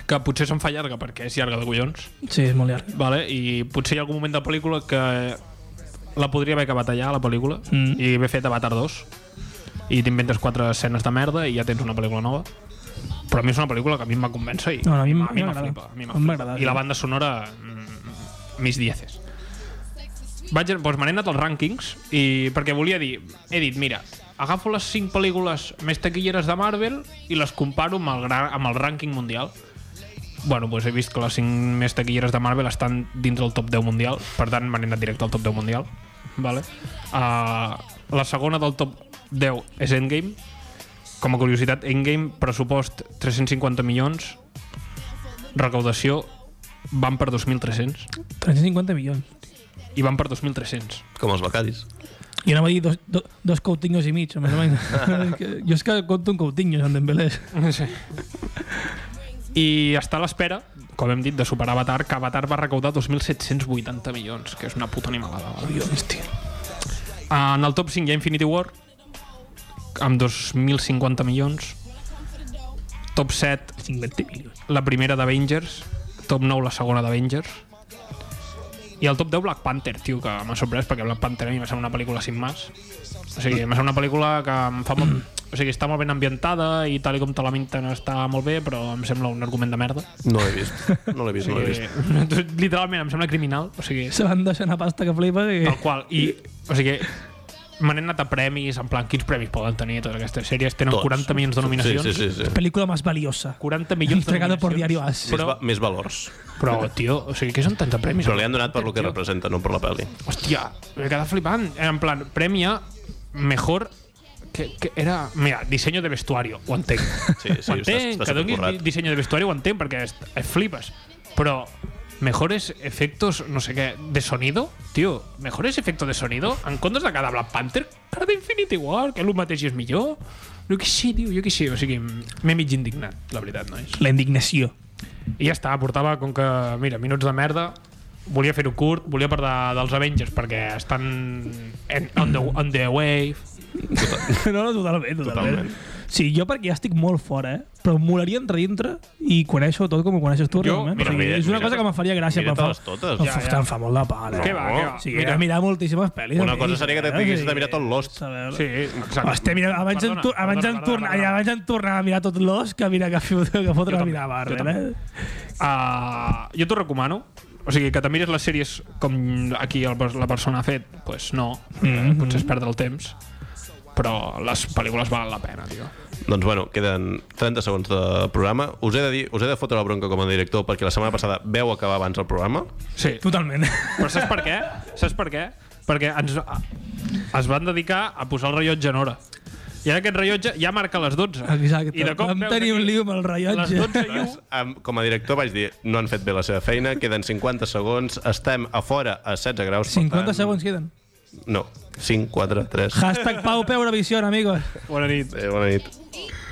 que potser se'n fa llarga perquè és llarga de collons,
Sí, és molt llarg.
vale? i potser hi ha algun moment de pel·lícula que la podria haver acabat allà, la pel·lícula, mm. i haver fet Avatar 2, i t'inventes quatre escenes de merda i ja tens una pel·lícula nova. Però a mi és una pel·lícula que a mi em va convèncer i
No, no, a mi m-
me
m'agrada.
flipa. A mi
Em va
m'agrada.
agradar,
I la
sí.
banda sonora, mm, mis dieces. Vaig, doncs me n'he anat als rànquings i perquè volia dir, he dit, mira, agafo les 5 pel·lícules més taquilleres de Marvel i les comparo amb el, gran, amb el rànquing mundial. Bueno, doncs he vist que les 5 més taquilleres de Marvel estan dintre del top 10 mundial, per tant me n'he anat directe al top 10 mundial. Vale? Uh, la segona del top 10 és Endgame. Com a curiositat, Endgame, pressupost 350 milions, recaudació van per 2.300
350 milions.
i van per 2.300.
Com els becaris.
Jo anava a dir dos, do, dos Coutinhos i mig, més o menys. És que- jo és que compto un Coutinho, en Dembélé.
Sí. I està a l'espera, com hem dit, de superar Avatar, que Avatar va recaudar 2.780 milions, que és una puta animalada. Hòstia. Ah, En el top 5 hi ha Infinity War, amb 2.050 milions. Top 7, 50 milions. la primera d'Avengers. Top 9, la segona d'Avengers. I el top 10, Black Panther, tio, que m'ha sorprès, perquè Black Panther a mi m'ha semblat una pel·lícula sin más. O sigui, m'ha semblat una pel·lícula que em fa molt... O sigui, està molt ben ambientada i tal i com te la minten està molt bé, però em sembla un argument de merda.
No l'he vist. No l'he vist, no l'he vist.
vist. Literalment, em sembla criminal. O sigui,
Se van deixar una pasta que flipa i...
tal qual. I, o sigui, me n'he anat a premis, en plan, quins premis poden tenir totes aquestes sèries? Tenen
Tots.
Tots. 40 milions de nominacions.
Sí, sí, sí. sí.
Película más valiosa.
40 milions de
Entregada por Diario As.
nominacions.
Més, va, més valors.
Però, tio, o sigui, què són tants premis?
Però li han donat per lo que representa, no per la pel·li.
Hòstia, m'he quedat flipant. En plan, premia mejor que, que era... Mira, disseny de vestuario, ho entenc.
Sí, sí,
ho entenc,
està- està
que donis
supercurrat.
di- disseny de vestuario ho entenc, perquè es, es flipes. Però mejores efectos, no sé què, de sonido, tio, mejores efectos de sonido, en comptes de cada Black Panther, cara d'Infinity War, que el mateix i és millor. Jo que sí, tio, jo que sí. O sigui, m'he mig indignat, la veritat, nois.
La indignació.
I ja està, portava com que, mira, minuts de merda, volia fer-ho curt, volia parlar dels Avengers perquè estan en, on, the, on the wave.
no, no, totalment, totalment.
Totalment.
Sí, jo perquè ja estic molt fora, eh? Però em molaria entrar dintre i conèixer tot com ho coneixes tu,
Jo,
realment.
mira,
o sigui,
mira,
és una
mira,
cosa que me faria gràcia.
mira-te
però em
les
fa-
totes.
em
Ja,
fa,
ja.
Em fa molt de pala.
Què va, què va?
Sí,
Mira.
he mirat moltíssimes pel·lis.
Una
de
cosa
Disney,
seria que
eh?
t'haguessis de
Sí.
mirar tot Lost.
Sí, exacte.
Hòstia, mira, abans en, tu, abans en tornar, i abans en tornar a mirar tot l'os que mira que, fot- que fotre a
també,
mirar
jo
barra,
també.
eh?
Uh, jo t'ho recomano. O sigui, que te mires les sèries com aquí el, la persona ha fet, doncs pues no, mm
Mhm.
-hmm. potser és perdre el temps. Però les pel·lícules valen la pena, tio.
Doncs bueno, queden 30 segons de programa. Us he de dir, us he de fotre la bronca com a director perquè la setmana passada veu acabar abans el programa.
Sí.
Totalment.
Però saps per què? ah, Saps per què? Perquè ens, es van dedicar a posar el rellotge en hora. I ara aquest rellotge ja marca les 12.
Exacte.
I de cop
Vam
veus
tenir un
aquí
lío amb el
Les
rellotge.
12 i u.
Em- Com a director vaig dir, no han fet bé la seva feina, queden 50 segons, estem a fora a 16 graus. per
50
tant-
segons queden.
No, 5, 4, 3.
Hashtag Pau Peu Eurovision, amigos.
Bona nit.
Adéu, bona nit.